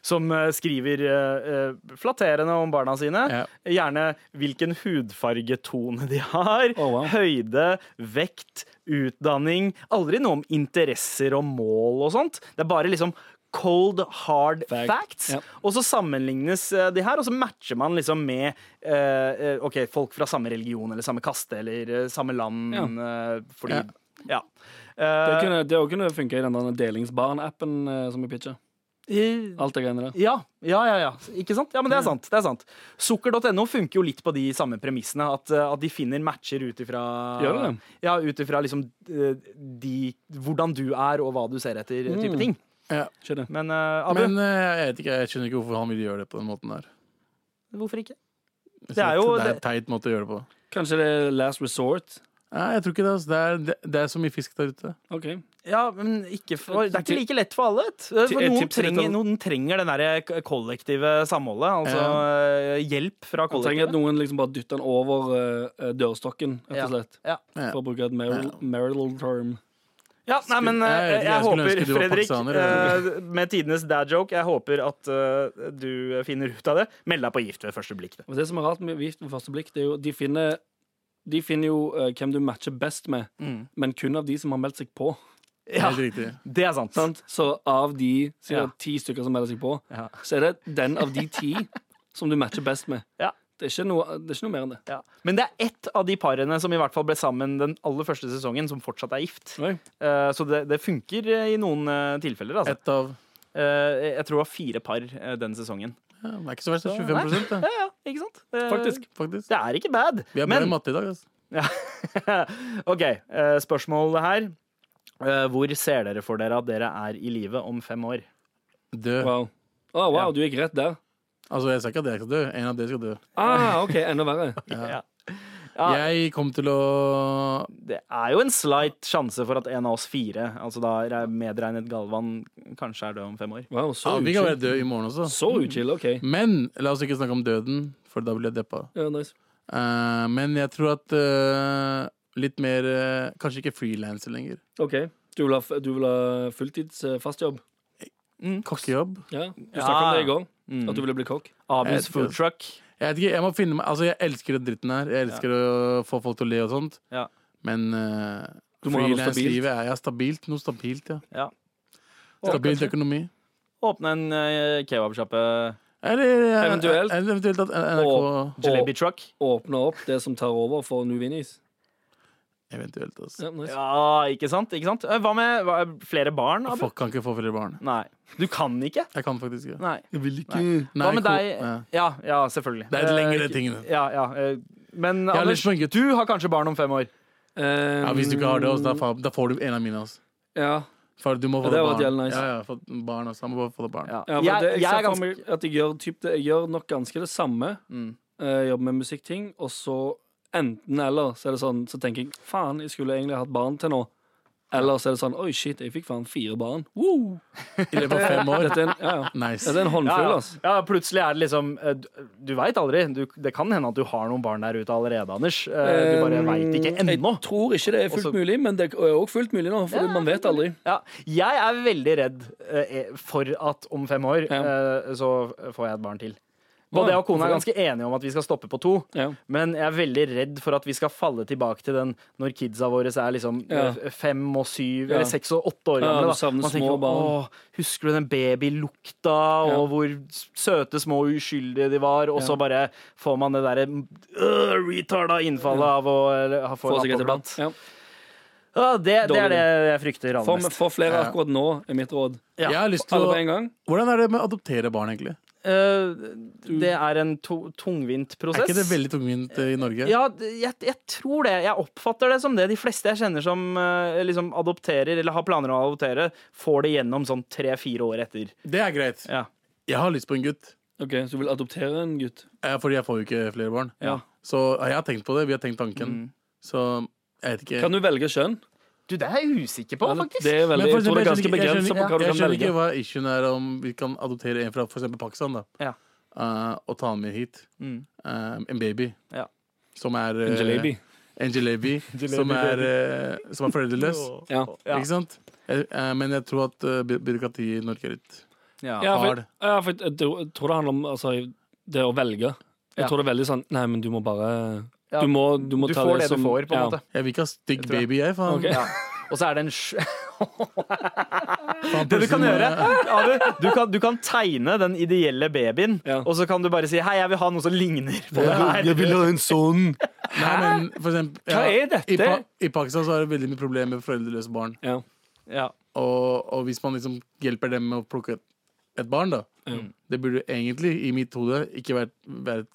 S3: Som eh, skriver eh, eh, flatterende om barna sine.
S2: Ja.
S3: Gjerne hvilken hudfargetone de har.
S6: Å, wow.
S3: Høyde, vekt, utdanning. Aldri noe om interesser og mål og sånt. Det er bare liksom cold, hard
S6: Fact.
S3: facts.
S6: Ja.
S3: Og så sammenlignes eh, de her, og så matcher man liksom med eh, eh, ok, folk fra samme religion eller samme kaste eller eh, samme land. eh, fordi, ja.
S6: Det
S3: Eh,
S6: kunne, det også kunne funke i den der delingsbarn-appen eh, som jeg pitcha.
S3: i-
S6: Alt det greiene der.
S3: ja, ja, ja, ja. Ikke sant? Ja, men det er sant. det er sant Sukker.no funker jo litt på de samme premissene. At, eh, at de finner matcher ut ifra
S6: Gjør det?
S3: Ja, ut ifra liksom eh, de, hvordan du er og hva du ser etter, eh,
S6: Mm.
S3: type ting.
S6: Ikke det?
S3: Men eh, Abu,
S2: Men eh, jeg vet ikke, jeg skjønner ikke hvorfor han ville gjøre det på den måten der.
S3: hvorfor ikke?
S2: Jeg
S3: Det er
S2: synes
S3: jo-
S2: det er
S3: det-
S2: en teit måte å gjøre det på.
S6: Kanskje det er last resort?
S2: Nei, jeg tror ikke det. Altså. Det, er, det, det er så mye fisk der ute.
S6: OK.
S3: Ja, men ikke for, Det er ikke like lett for alle. vet du. For
S6: Et
S3: noen,
S6: tips til
S3: trenger,
S6: dette-
S3: noen trenger den der eh, k- kollektive samholdet. Altså eh, hjelp fra
S6: Man trenger at
S3: kollektivet.
S6: noen liksom bare dytter den over eh, dørstokken, rett
S3: Ja.
S6: og slett.
S3: Ja.
S2: Ja.
S6: For å bruke et marital, marital term.
S3: Ja, nei, men eh,
S2: Jeg
S3: jeg,
S2: vet ikke, jeg skulle
S3: håper,
S2: ønske du var
S3: Fredrik,
S2: pakistaner,
S3: eh, med tidenes dad joke, jeg håper at eh, du finner ut av det. Meld deg på gift ved første blikk. du.
S6: Og det som er rart med Gift ved første blikk, det er jo de finner de finner jo eh, hvem du matcher best med,
S3: Mm.
S6: men kun av de som har meldt seg på.
S3: Ja,
S2: Helt riktig.
S3: det er sant.
S6: Sant? Så av de sier
S3: Ja.
S6: jeg, ti stykker som melder seg på,
S3: Ja.
S6: så er det den av de ti som du matcher best med.
S3: Ja.
S6: Det, er ikke noe, det er ikke noe mer enn det.
S3: Ja. Men det er ett av de parene som i hvert fall ble sammen den aller første sesongen, som fortsatt er gift.
S6: Oi.
S3: Eh, så det, det funker eh, i noen eh, tilfeller. Altså.
S2: Ett av
S3: Eh, jeg tror det var fire par eh, den sesongen.
S2: ja, Det er ikke så verst. det er 25 det,
S3: Ja, ikke sant? Eh,
S6: Faktisk.
S2: faktisk.
S3: Det er ikke bad.
S2: Vi er bra i
S3: Men
S2: matte i dag. Altså.
S3: OK, eh, spørsmålet her. Eh, Hvor ser dere for dere at dere er i livet om fem år?
S2: Dø.
S6: Wow. Å, wow,
S3: Ja.
S6: du gikk rett der.
S2: Altså, jeg sa ikke at jeg skal dø. En av dere skal dø.
S6: Ah, OK, enda verre.
S3: Ja.
S2: Jeg kom til å
S3: Det er jo en slight sjanse for at en av oss fire, altså da er medregnet Galvan, kanskje er død om fem år.
S6: Wow,
S2: ja,
S6: så
S2: Vi kan
S6: uchill.
S2: være døde i morgen også.
S6: Så uchill, OK.
S2: Men la oss ikke snakke om døden, for da blir jeg deppa.
S6: Ja, nice.
S2: Eh, men jeg tror at eh, litt mer eh, Kanskje ikke frilanser lenger.
S6: OK. Du vil ha, f- du vil ha fulltids eh, fast jobb? Mm.
S2: Kokkejobb.
S6: Ja. Du
S3: Ja.
S6: snakket om det i går, at du ville bli kokk.
S3: Abus
S2: Jeg-
S3: food truck.
S2: Jeg vet ikke, jeg må finne meg Altså, jeg elsker den dritten her. Jeg elsker å få folk til å le og sånt.
S3: Ja.
S2: Men uh,
S6: Du må ha noe stabilt.
S2: frilanslivet er ja, stabilt. Noe stabilt, ja.
S3: Ja.
S2: Stabil økonomi.
S3: Åpne en eh, kebabsjappe.
S2: Eller eh,
S6: Eventuelt.
S2: eller eventuelt at NRK
S3: Jalebi truck.
S6: Åpne opp det som tar over for New Vinnies.
S2: Eventuelt, altså.
S6: Ja, nice.
S3: Ja, ikke sant? Ikke sant? Eh, Hva med hva, flere barn? Abu?
S2: Folk kan ikke få flere barn.
S3: Nei. Du kan ikke?
S2: Jeg kan faktisk ikke.
S3: Nei.
S1: Jeg vil ikke
S2: Nei,
S3: Hva med
S2: ko-
S3: deg?
S2: ja.
S3: Ja, ja selvfølgelig.
S2: Det er et lengre
S3: Eh,
S2: ting, det.
S3: Ja, ja. eh, Men
S2: Jeg har
S3: Anders,
S2: lyst på en gutt.
S3: du har kanskje barn om fem år.
S2: Ja, hvis du ikke har det, altså, da, fa- da får du en av mine. Altså.
S6: Ehm, Ja,
S2: For du må få
S6: Ja, det
S2: deg
S6: var
S2: barn.
S6: jævlig nice.
S2: Ja, ja, få barn også. Han må bare få deg barn.
S3: Ja.
S6: ja for
S3: Jeg,
S6: det, jeg,
S3: jeg
S6: ser
S3: er
S6: for
S3: ganske
S6: meg at jeg gjør, typ, det, jeg gjør nok ganske det samme.
S3: Mm.
S6: Eh, jobber med musikkting, og så enten-eller. Så er det sånn, så tenker jeg faen, jeg skulle egentlig hatt barn til nå. Eller så er det sånn oi, shit, jeg fikk faen fire barn. Woo!
S2: I løpet av fem år.
S6: Dette er en, ja, ja.
S2: Nice.
S6: Dette er en
S3: Ja,
S6: håndfull,
S3: ja.
S6: altså.
S3: ja, plutselig er det liksom eh, Du, du veit aldri. Du, det kan hende at du har noen barn der ute allerede, Anders. Eh, Du bare veit ikke ennå.
S6: Ehm, Jeg tror ikke det er fullt
S3: Også-
S6: mulig, men det er òg fullt mulig nå, for man vet aldri.
S3: Ja, jeg er veldig redd eh, for at om fem år eh, så får jeg et barn til. Både
S6: Ja,
S3: jeg og kona er
S6: hvorfor
S3: ganske enige om at vi skal stoppe på to,
S6: Ja.
S3: men jeg er veldig redd for at vi skal falle tilbake til den når kidsa våre er liksom
S6: Ja.
S3: eh, fem og syv,
S6: Ja.
S3: eller seks og åtte år
S6: Ja, du
S3: gamle. da.
S6: savner
S3: Man
S6: små
S3: tenker, sånn,
S6: barn.
S3: Åh, husker du den babylukta,
S6: Ja.
S3: og hvor søte, små, uskyldige de var, og så bare får man det derre øh, retarda innfallet av å eller, ha- få
S6: Få
S3: en
S6: seg et iblant.
S3: appeblad.
S6: Ja.
S3: Ja, det, det
S6: Dårlig.
S3: er det jeg frykter aller
S6: For,
S3: mest.
S6: for flere akkurat nå, er mitt råd.
S2: Jeg har lyst til
S6: Alle
S2: å
S6: på en gang.
S2: Hvordan er det med å adoptere barn, egentlig?
S3: Eh, det er en to tungvint
S2: Er
S3: prosess.
S2: ikke det veldig tungvint eh, i Norge?
S3: Ja, d- jeg, jeg tror det. Jeg oppfatter det som det. De fleste jeg kjenner som eh, liksom adopterer eller har planer om å adoptere, får det gjennom sånn tre-fire år etter.
S2: Det er greit.
S3: Ja.
S2: Jeg har lyst på en gutt,
S6: Ok, Så du vil adoptere en gutt?
S2: eh, fordi jeg får jo ikke flere barn.
S6: Ja.
S2: Så ja, jeg har tenkt på det. Vi har tenkt tanken. Så jeg vet ikke.
S6: Mm. Kan du velge kjønn?
S3: Du, det er jeg usikker på,
S6: Ja, det-
S3: faktisk.
S6: Det er veldig,
S2: Men for
S6: jeg tror det er ganske
S2: eksempel, jeg skjønner
S6: begrenset på
S2: ikke-
S6: hva du
S2: Jeg
S6: kan
S2: skjønner ikke
S6: velge.
S2: hva issuen er om vi kan adoptere en fra for eksempel Pakistan da,
S3: Ja.
S2: Eh, og ta med hit.
S3: Mm.
S2: Eh, en baby.
S3: Ja.
S2: Som er eh,
S6: En jalebi.
S2: en jalebi, som, er, eh, som er foreldreløs.
S6: Ja.
S3: Ja.
S2: Ikke sant? Eh, eh, men jeg tror at eh, by byråkratiet i Norge er litt
S3: Ja.
S6: Ja, for,
S2: Hard.
S6: ja, for jeg tror jeg tror det handler om altså, det å velge. Jeg
S3: Ja.
S6: tror det er veldig sånn Nei, men du må bare
S3: Ja,
S6: Du må, du må
S3: Du
S6: ta
S3: får
S6: det
S3: det
S6: som
S3: du får, på en
S6: ja.
S3: måte.
S2: Jeg vil ikke ha stygg
S3: Jeg tror jeg-
S2: baby, jeg. Faen.
S6: Ok.
S3: Ja. Og så er det en sj-
S2: faen
S3: Det du kan
S2: person-
S3: gjøre, Abu, du kan, du kan tegne den ideelle babyen,
S6: Ja.
S3: og så kan du bare si 'hei, jeg vil ha noe som ligner på det
S1: Jeg,
S3: her'.
S1: jeg vil ha en sånn.
S2: Nei, men for eksempel,
S6: Hva
S2: ja,
S6: er dette?
S2: I, pa I Pakistan så er det veldig mye problemer med foreldreløse barn.
S6: Ja.
S3: Ja.
S2: Og, og hvis man liksom hjelper dem med å plukke et, et barn, da Det burde egentlig, i mitt hode, ikke vært, være et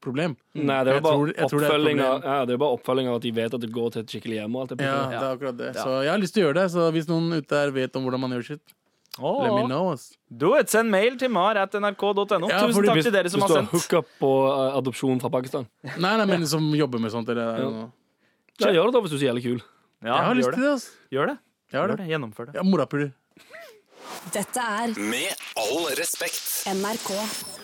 S2: problem.
S6: Nei, det er
S2: Jeg
S6: jo bare
S2: tror- jeg tror det er et
S6: oppfølging av
S2: problem.
S6: ja, Det er jo bare oppfølging av at de vet at det går til et skikkelig hjem. og alt det
S2: Ja,
S6: ja.
S2: det er akkurat det. Så jeg har lyst til å gjøre det. Så hvis noen ute der vet om hvordan man gjør sitt, let me know. Ass.
S3: Do it. Send mail til mar.nrk.no.
S2: Ja,
S3: Tusen
S2: fordi
S3: takk
S2: hvis-
S3: til dere som
S6: Hvis
S3: har
S6: du har
S3: sendt.
S6: hookup på eh, adopsjon fra Pakistan,
S2: Nei, nei, men som jobber med sånt. Eller, eller noe.
S6: ja, gjør det da hvis du er så jævlig kul.
S3: Ja,
S2: Jeg har lyst
S3: gjør, det.
S2: til det, ass.
S3: gjør det.
S2: Jeg har
S3: Gjør
S2: det.
S3: det. Gjennomfør det.
S2: Ja, morapuler.
S4: Dette er
S5: Med all respekt.
S4: NRK.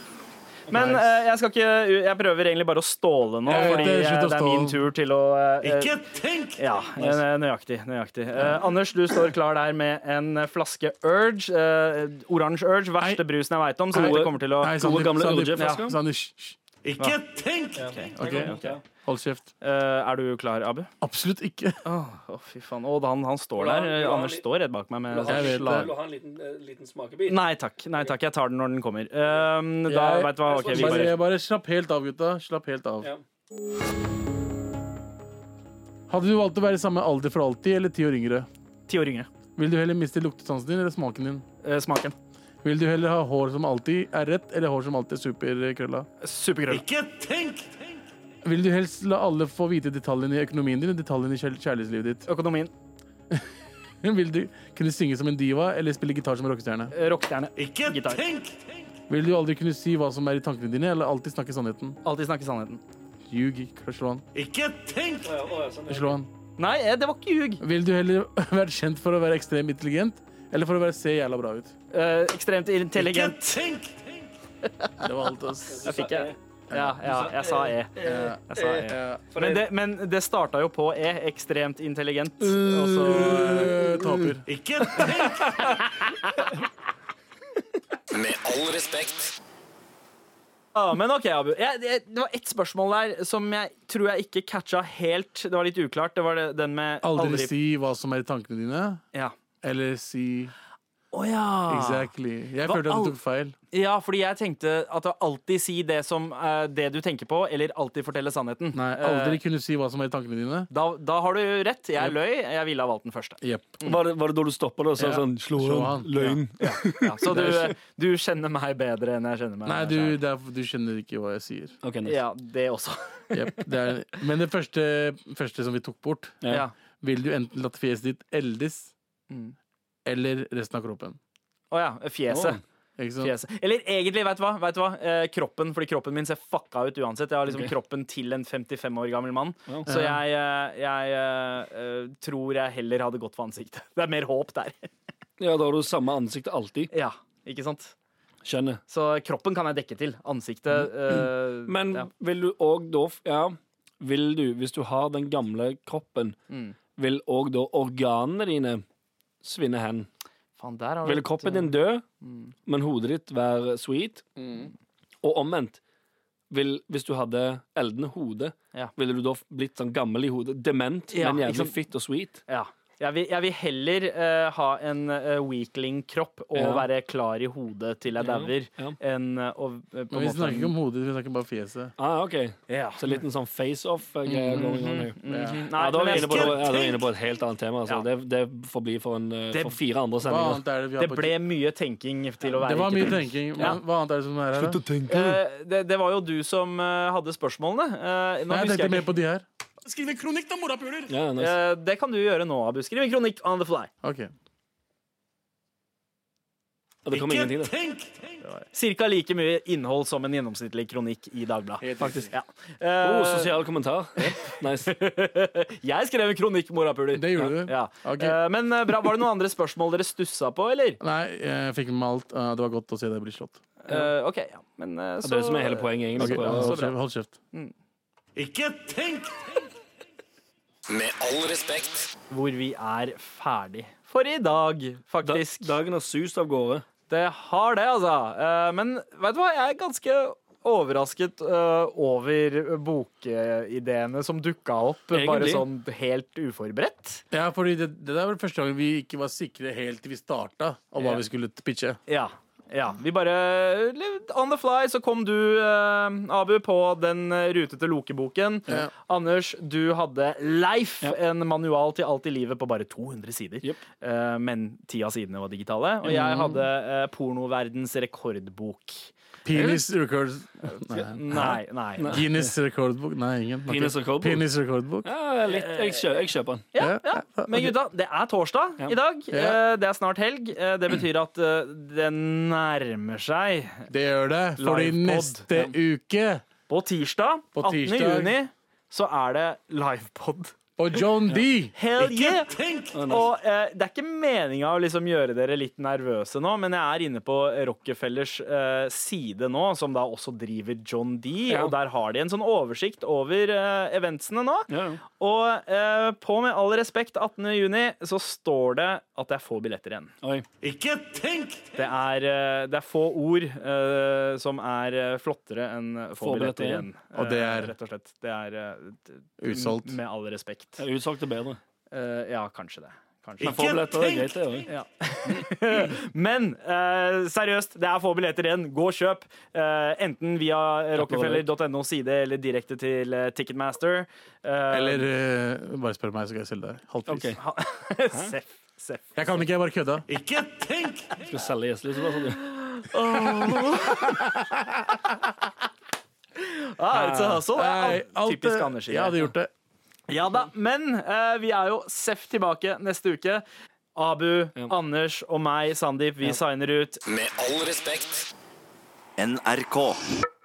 S3: Men eh, jeg skal ikke Jeg prøver egentlig bare å ståle nå,
S2: Jeg vet
S3: fordi
S2: det,
S3: eh,
S2: slutt å
S3: det er
S2: ståle.
S3: min tur til å Ikke tenk! Ja, eh, nøyaktig. nøyaktig. Eh, Anders, du står klar der med en eh, flaske Urge. eh, Oransje Urge. Verste brusen jeg veit om, så dette kommer til å
S2: Nei, Sandeep,
S6: gamle
S2: Sandeep,
S6: LJ-flasker.
S2: ja, Sandeep, hysj, hysj.
S3: Ok, ok.
S2: Hold kjeft.
S3: Eh, Er du klar, Abu? Å,
S2: Absolutt ikke.
S3: fy faen. Å, han, han står der. Eh, Anders står rett bak meg med
S2: Jeg vet det.
S3: slag.
S6: ha en liten, smakebit?
S3: Nei takk. nei takk, Jeg tar den når den kommer. Um, da
S2: Jeg-
S3: vet du hva, ok, vi bare
S2: bare, bare slapp helt av, gutta. Slapp helt av.
S6: Ja.
S2: Hadde du valgt å være i samme alder for alltid, eller ti år yngre?
S3: Ti år yngre.
S2: Vil du heller miste luktesansen din eller smaken din?
S3: Eh, Smaken.
S2: Vil du heller ha hår som alltid er rett, eller hår som alltid er superkrølla?
S3: Superkrøll.
S2: Vil du helst la alle få vite detaljene i økonomien din og detaljene i kjær- kjærlighetslivet ditt?
S3: Økonomien.
S2: Vil du kunne synge som en diva eller spille gitar som en rockestjerne?
S3: Eh, Rockestjerne. Gitar.
S2: Vil du aldri kunne si hva som er i tankene dine, eller alltid snakke sannheten?
S3: Alltid snakke sannheten.
S2: Ljug, ikke slå han.
S6: sånn,
S2: Slå han.
S3: Nei, eh, det var ikke ljug.
S2: Vil du heller vært kjent for å være ekstremt intelligent, eller for å være se jævla bra ut?
S3: Eh, ekstremt intelligent.
S2: Det var alt, ass.
S3: Jeg fikk jeg. Ja, ja, jeg sa E. Jeg sa e. Men, det, men det starta jo på E. Ekstremt intelligent.
S2: Uh.
S3: Og så
S2: Eh, Taper.
S5: Med all respekt.
S3: Ja, Men OK, Abu. Jeg, jeg, det var ett spørsmål der som jeg tror jeg ikke catcha helt. Det var litt uklart. Det var det, den med
S2: Aldri si hva som er i tankene dine,
S3: Ja.
S2: eller si
S3: Å ja.
S2: Ah. exactly. Jeg
S3: Hva
S2: følte at
S3: al-
S2: du tok feil.
S3: ja! Fordi jeg tenkte at det var alltid si det som eh, det du tenker på, eller alltid fortelle sannheten.
S2: Nei,
S3: Eh,
S2: aldri kunne si hva som er i tankene dine.
S3: da, da har du rett. Jeg løy. Jeg ville ha valgt den første.
S2: Jepp.
S6: Var, det, var det da du stoppa det og sa sånn
S1: Slå
S2: Slå
S1: han.
S2: han.
S1: Løgn.
S3: Ja, så du, du kjenner meg bedre enn jeg kjenner meg
S2: Nei, du,
S3: selv.
S2: det er, du skjønner ikke hva jeg sier.
S6: OK, nice.
S3: Ja, det også.
S2: Jepp, det er, men det første, første som vi tok bort,
S6: Ja.
S3: Ja.
S2: vil du enten latt fjeset ditt eldes,
S3: Mm.
S2: eller resten av kroppen.
S3: Å ja. Fjeset.
S2: Ikke sant?
S3: Fjeset. Eller egentlig, vet du hva? Vet du hva? Eh, kroppen, fordi kroppen min ser fucka ut uansett. Jeg har liksom
S6: Ok.
S3: kroppen til en 55 år gammel mann. Så jeg, eh, jeg eh, eh, tror jeg heller hadde gått for ansiktet. Det er mer håp der.
S6: Ja, da har du samme ansikt alltid.
S3: ja, ikke sant?
S6: Skjønner.
S3: Så kroppen kan jeg dekke til. Ansiktet eh,
S6: Mm. Men
S3: ja.
S6: vil du òg da f- Ja, vil du, hvis du har den gamle kroppen,
S3: Mm.
S6: vil òg da organene dine svinne hen?
S3: Faen, der har du
S6: Vil
S3: et,
S6: kroppen
S3: eh,
S6: din dø, men hodet ditt være sweet?
S3: Mm.
S6: Og omvendt. Vil, hvis du hadde eldende hode,
S3: Ja.
S6: ville du da f- blitt sånn gammel i hodet? Dement,
S3: Ja,
S6: men
S3: ikke sant?
S6: jævlig fitt og sweet?
S3: Ja. Jeg vil, jeg vil heller eh, ha en eh, weakling-kropp og
S6: Ja.
S3: være klar i hodet til jeg
S6: Ja,
S3: dauer,
S6: ja.
S3: enn eh, å eh, på
S2: Men vi
S3: en måte
S2: snakker ikke om hodet, vi snakker bare om fjeset.
S6: Ah, OK.
S3: ja.
S6: Så en liten sånn face-off-greie going on her.
S3: Mm. Mm-hmm.
S2: Mhm.
S3: Nei,
S6: ja, da var
S3: men
S6: vi
S3: jeg
S6: inne på,
S3: skal
S6: ja, da var vi
S3: tenke-
S6: inne på et helt annet tema. Altså.
S3: Ja.
S6: Det, det får bli for, en, eh,
S3: Det-
S6: for fire andre
S2: Hva
S6: sendinger.
S2: annet er det vi har
S3: Det
S2: på
S3: ble mye tenking til å være
S2: Det var mye
S3: ikke tenkt.
S2: tenking. men
S3: Ja.
S2: Hva annet er det som er her?
S1: Slutt
S2: da?
S1: å tenke.
S3: Eh, det, det var jo du som eh, hadde spørsmålene. Eh, nå
S2: Nei,
S3: husker
S2: jeg tenkte
S3: jeg
S2: mer
S3: ikke.
S2: på de her.
S6: Ja, nice.
S3: Eh, det kan du gjøre nå, Abu. Skriv en kronikk on the fly.
S2: Ok.
S6: Ja, det kom ingenting, det.
S3: Cirka like mye innhold som en gjennomsnittlig kronikk i Dagbladet.
S6: Faktisk.
S3: Ja.
S6: Oh,
S3: Eh,
S6: sosial kommentar. Nice.
S3: jeg skrev en kronikk, morapuler.
S2: Det gjorde du.
S3: Ja.
S2: Ok.
S3: Eh, men eh, bra, var det noen andre spørsmål dere stussa på, eller?
S2: Nei, jeg fikk med alt. Eh, Det var godt å se deg bli slått.
S3: Eh, ok, ja. Men eh,
S6: Det
S3: så
S6: er det som er hele poenget,
S2: Ok,
S6: egentlig.
S2: hold,
S3: bra.
S2: kjeft, hold kjeft.
S5: Med all respekt.
S3: Hvor vi er ferdig for i dag,
S6: Da,
S3: faktisk.
S6: dagen har sust av gårde.
S3: Det har det, altså. Eh, Men vet du hva, jeg er ganske overrasket eh, over bokideene som dukka opp. Bare
S6: Egentlig.
S3: sånn helt uforberedt.
S2: Ja, fordi det, det der var det første gangen vi ikke var sikre helt til vi starta om hva
S3: Ja.
S2: vi skulle pitche.
S3: Ja. Ja, Vi bare On the fly så kom du, eh, Abu, på den rutete Loke-boken.
S2: Ja.
S3: Anders, du hadde Leif,
S6: Ja.
S3: en manual til alt i livet på bare 200 sider.
S6: Jep. Mm.
S3: Eh, men ti av sidene var digitale. Og jeg hadde eh, pornoverdens rekordbok.
S2: Penis records Nei.
S3: Nei, nei.
S2: Guinness rekordbok? Nei, ingen. Ok.
S6: Penis rekordbok?
S2: Penis rekordbok.
S6: Ja, litt. Eh, Jeg, kjø, jeg kjøper den.
S3: Ja,
S2: Ja,
S3: ja. Men gutta, det er torsdag
S6: Ja.
S3: i dag.
S2: Ja.
S3: Eh, Det er snart helg. Eh, Det betyr at eh, det nærmer seg.
S2: Det gjør det. Fordi
S3: Livepod.
S2: neste uke
S3: På tirsdag,
S2: På
S3: 18.
S2: tirsdag.
S3: juni, så er det livepod.
S2: Og John D.
S3: Hell yeah!
S6: Å, nice.
S3: Og eh, det er ikke meninga å liksom gjøre dere litt nervøse nå, men jeg er inne på Rockefellers eh, side nå, som da også driver John D,
S6: Ja.
S3: og der har de en sånn oversikt over eh, eventsene nå.
S6: Ja, ja.
S3: Og eh, på Med all respekt 18. juni så står det at det er få billetter igjen.
S6: Oi.
S3: Det er, eh, det er få ord eh, som er eh, flottere enn få, billetter igjen.
S2: Og det er-
S3: Eh, Rett og slett. Det er eh, d-
S2: Utsolgt.
S3: Med all respekt.
S6: Jeg utsolgte bedre.
S3: Eh, ja, kanskje det. Kanskje.
S6: Men forbilletter er greit, det òg.
S3: Men eh, seriøst, det er få billetter igjen. Gå og kjøp. Eh, enten via rockefeller.no side eller direkte til eh, Ticketmaster. Eh,
S2: Eller eh, bare spør meg, så skal jeg selge deg. Halv pris.
S6: Ok.
S3: ha- Seff. Seff.
S2: Jeg kan ikke, jeg bare kødda.
S6: Skal selge gjestelig, så bare sånn.
S3: Ah, it's a hustle.
S2: Nei, alt,
S3: Typisk
S2: eh,
S3: Anders.
S2: Jeg hadde gjort det.
S3: Ja da, men eh, vi er jo seff tilbake neste uke. Abu, Anders og meg, Sandeep, vi signer ut.
S5: Med all respekt.
S7: NRK.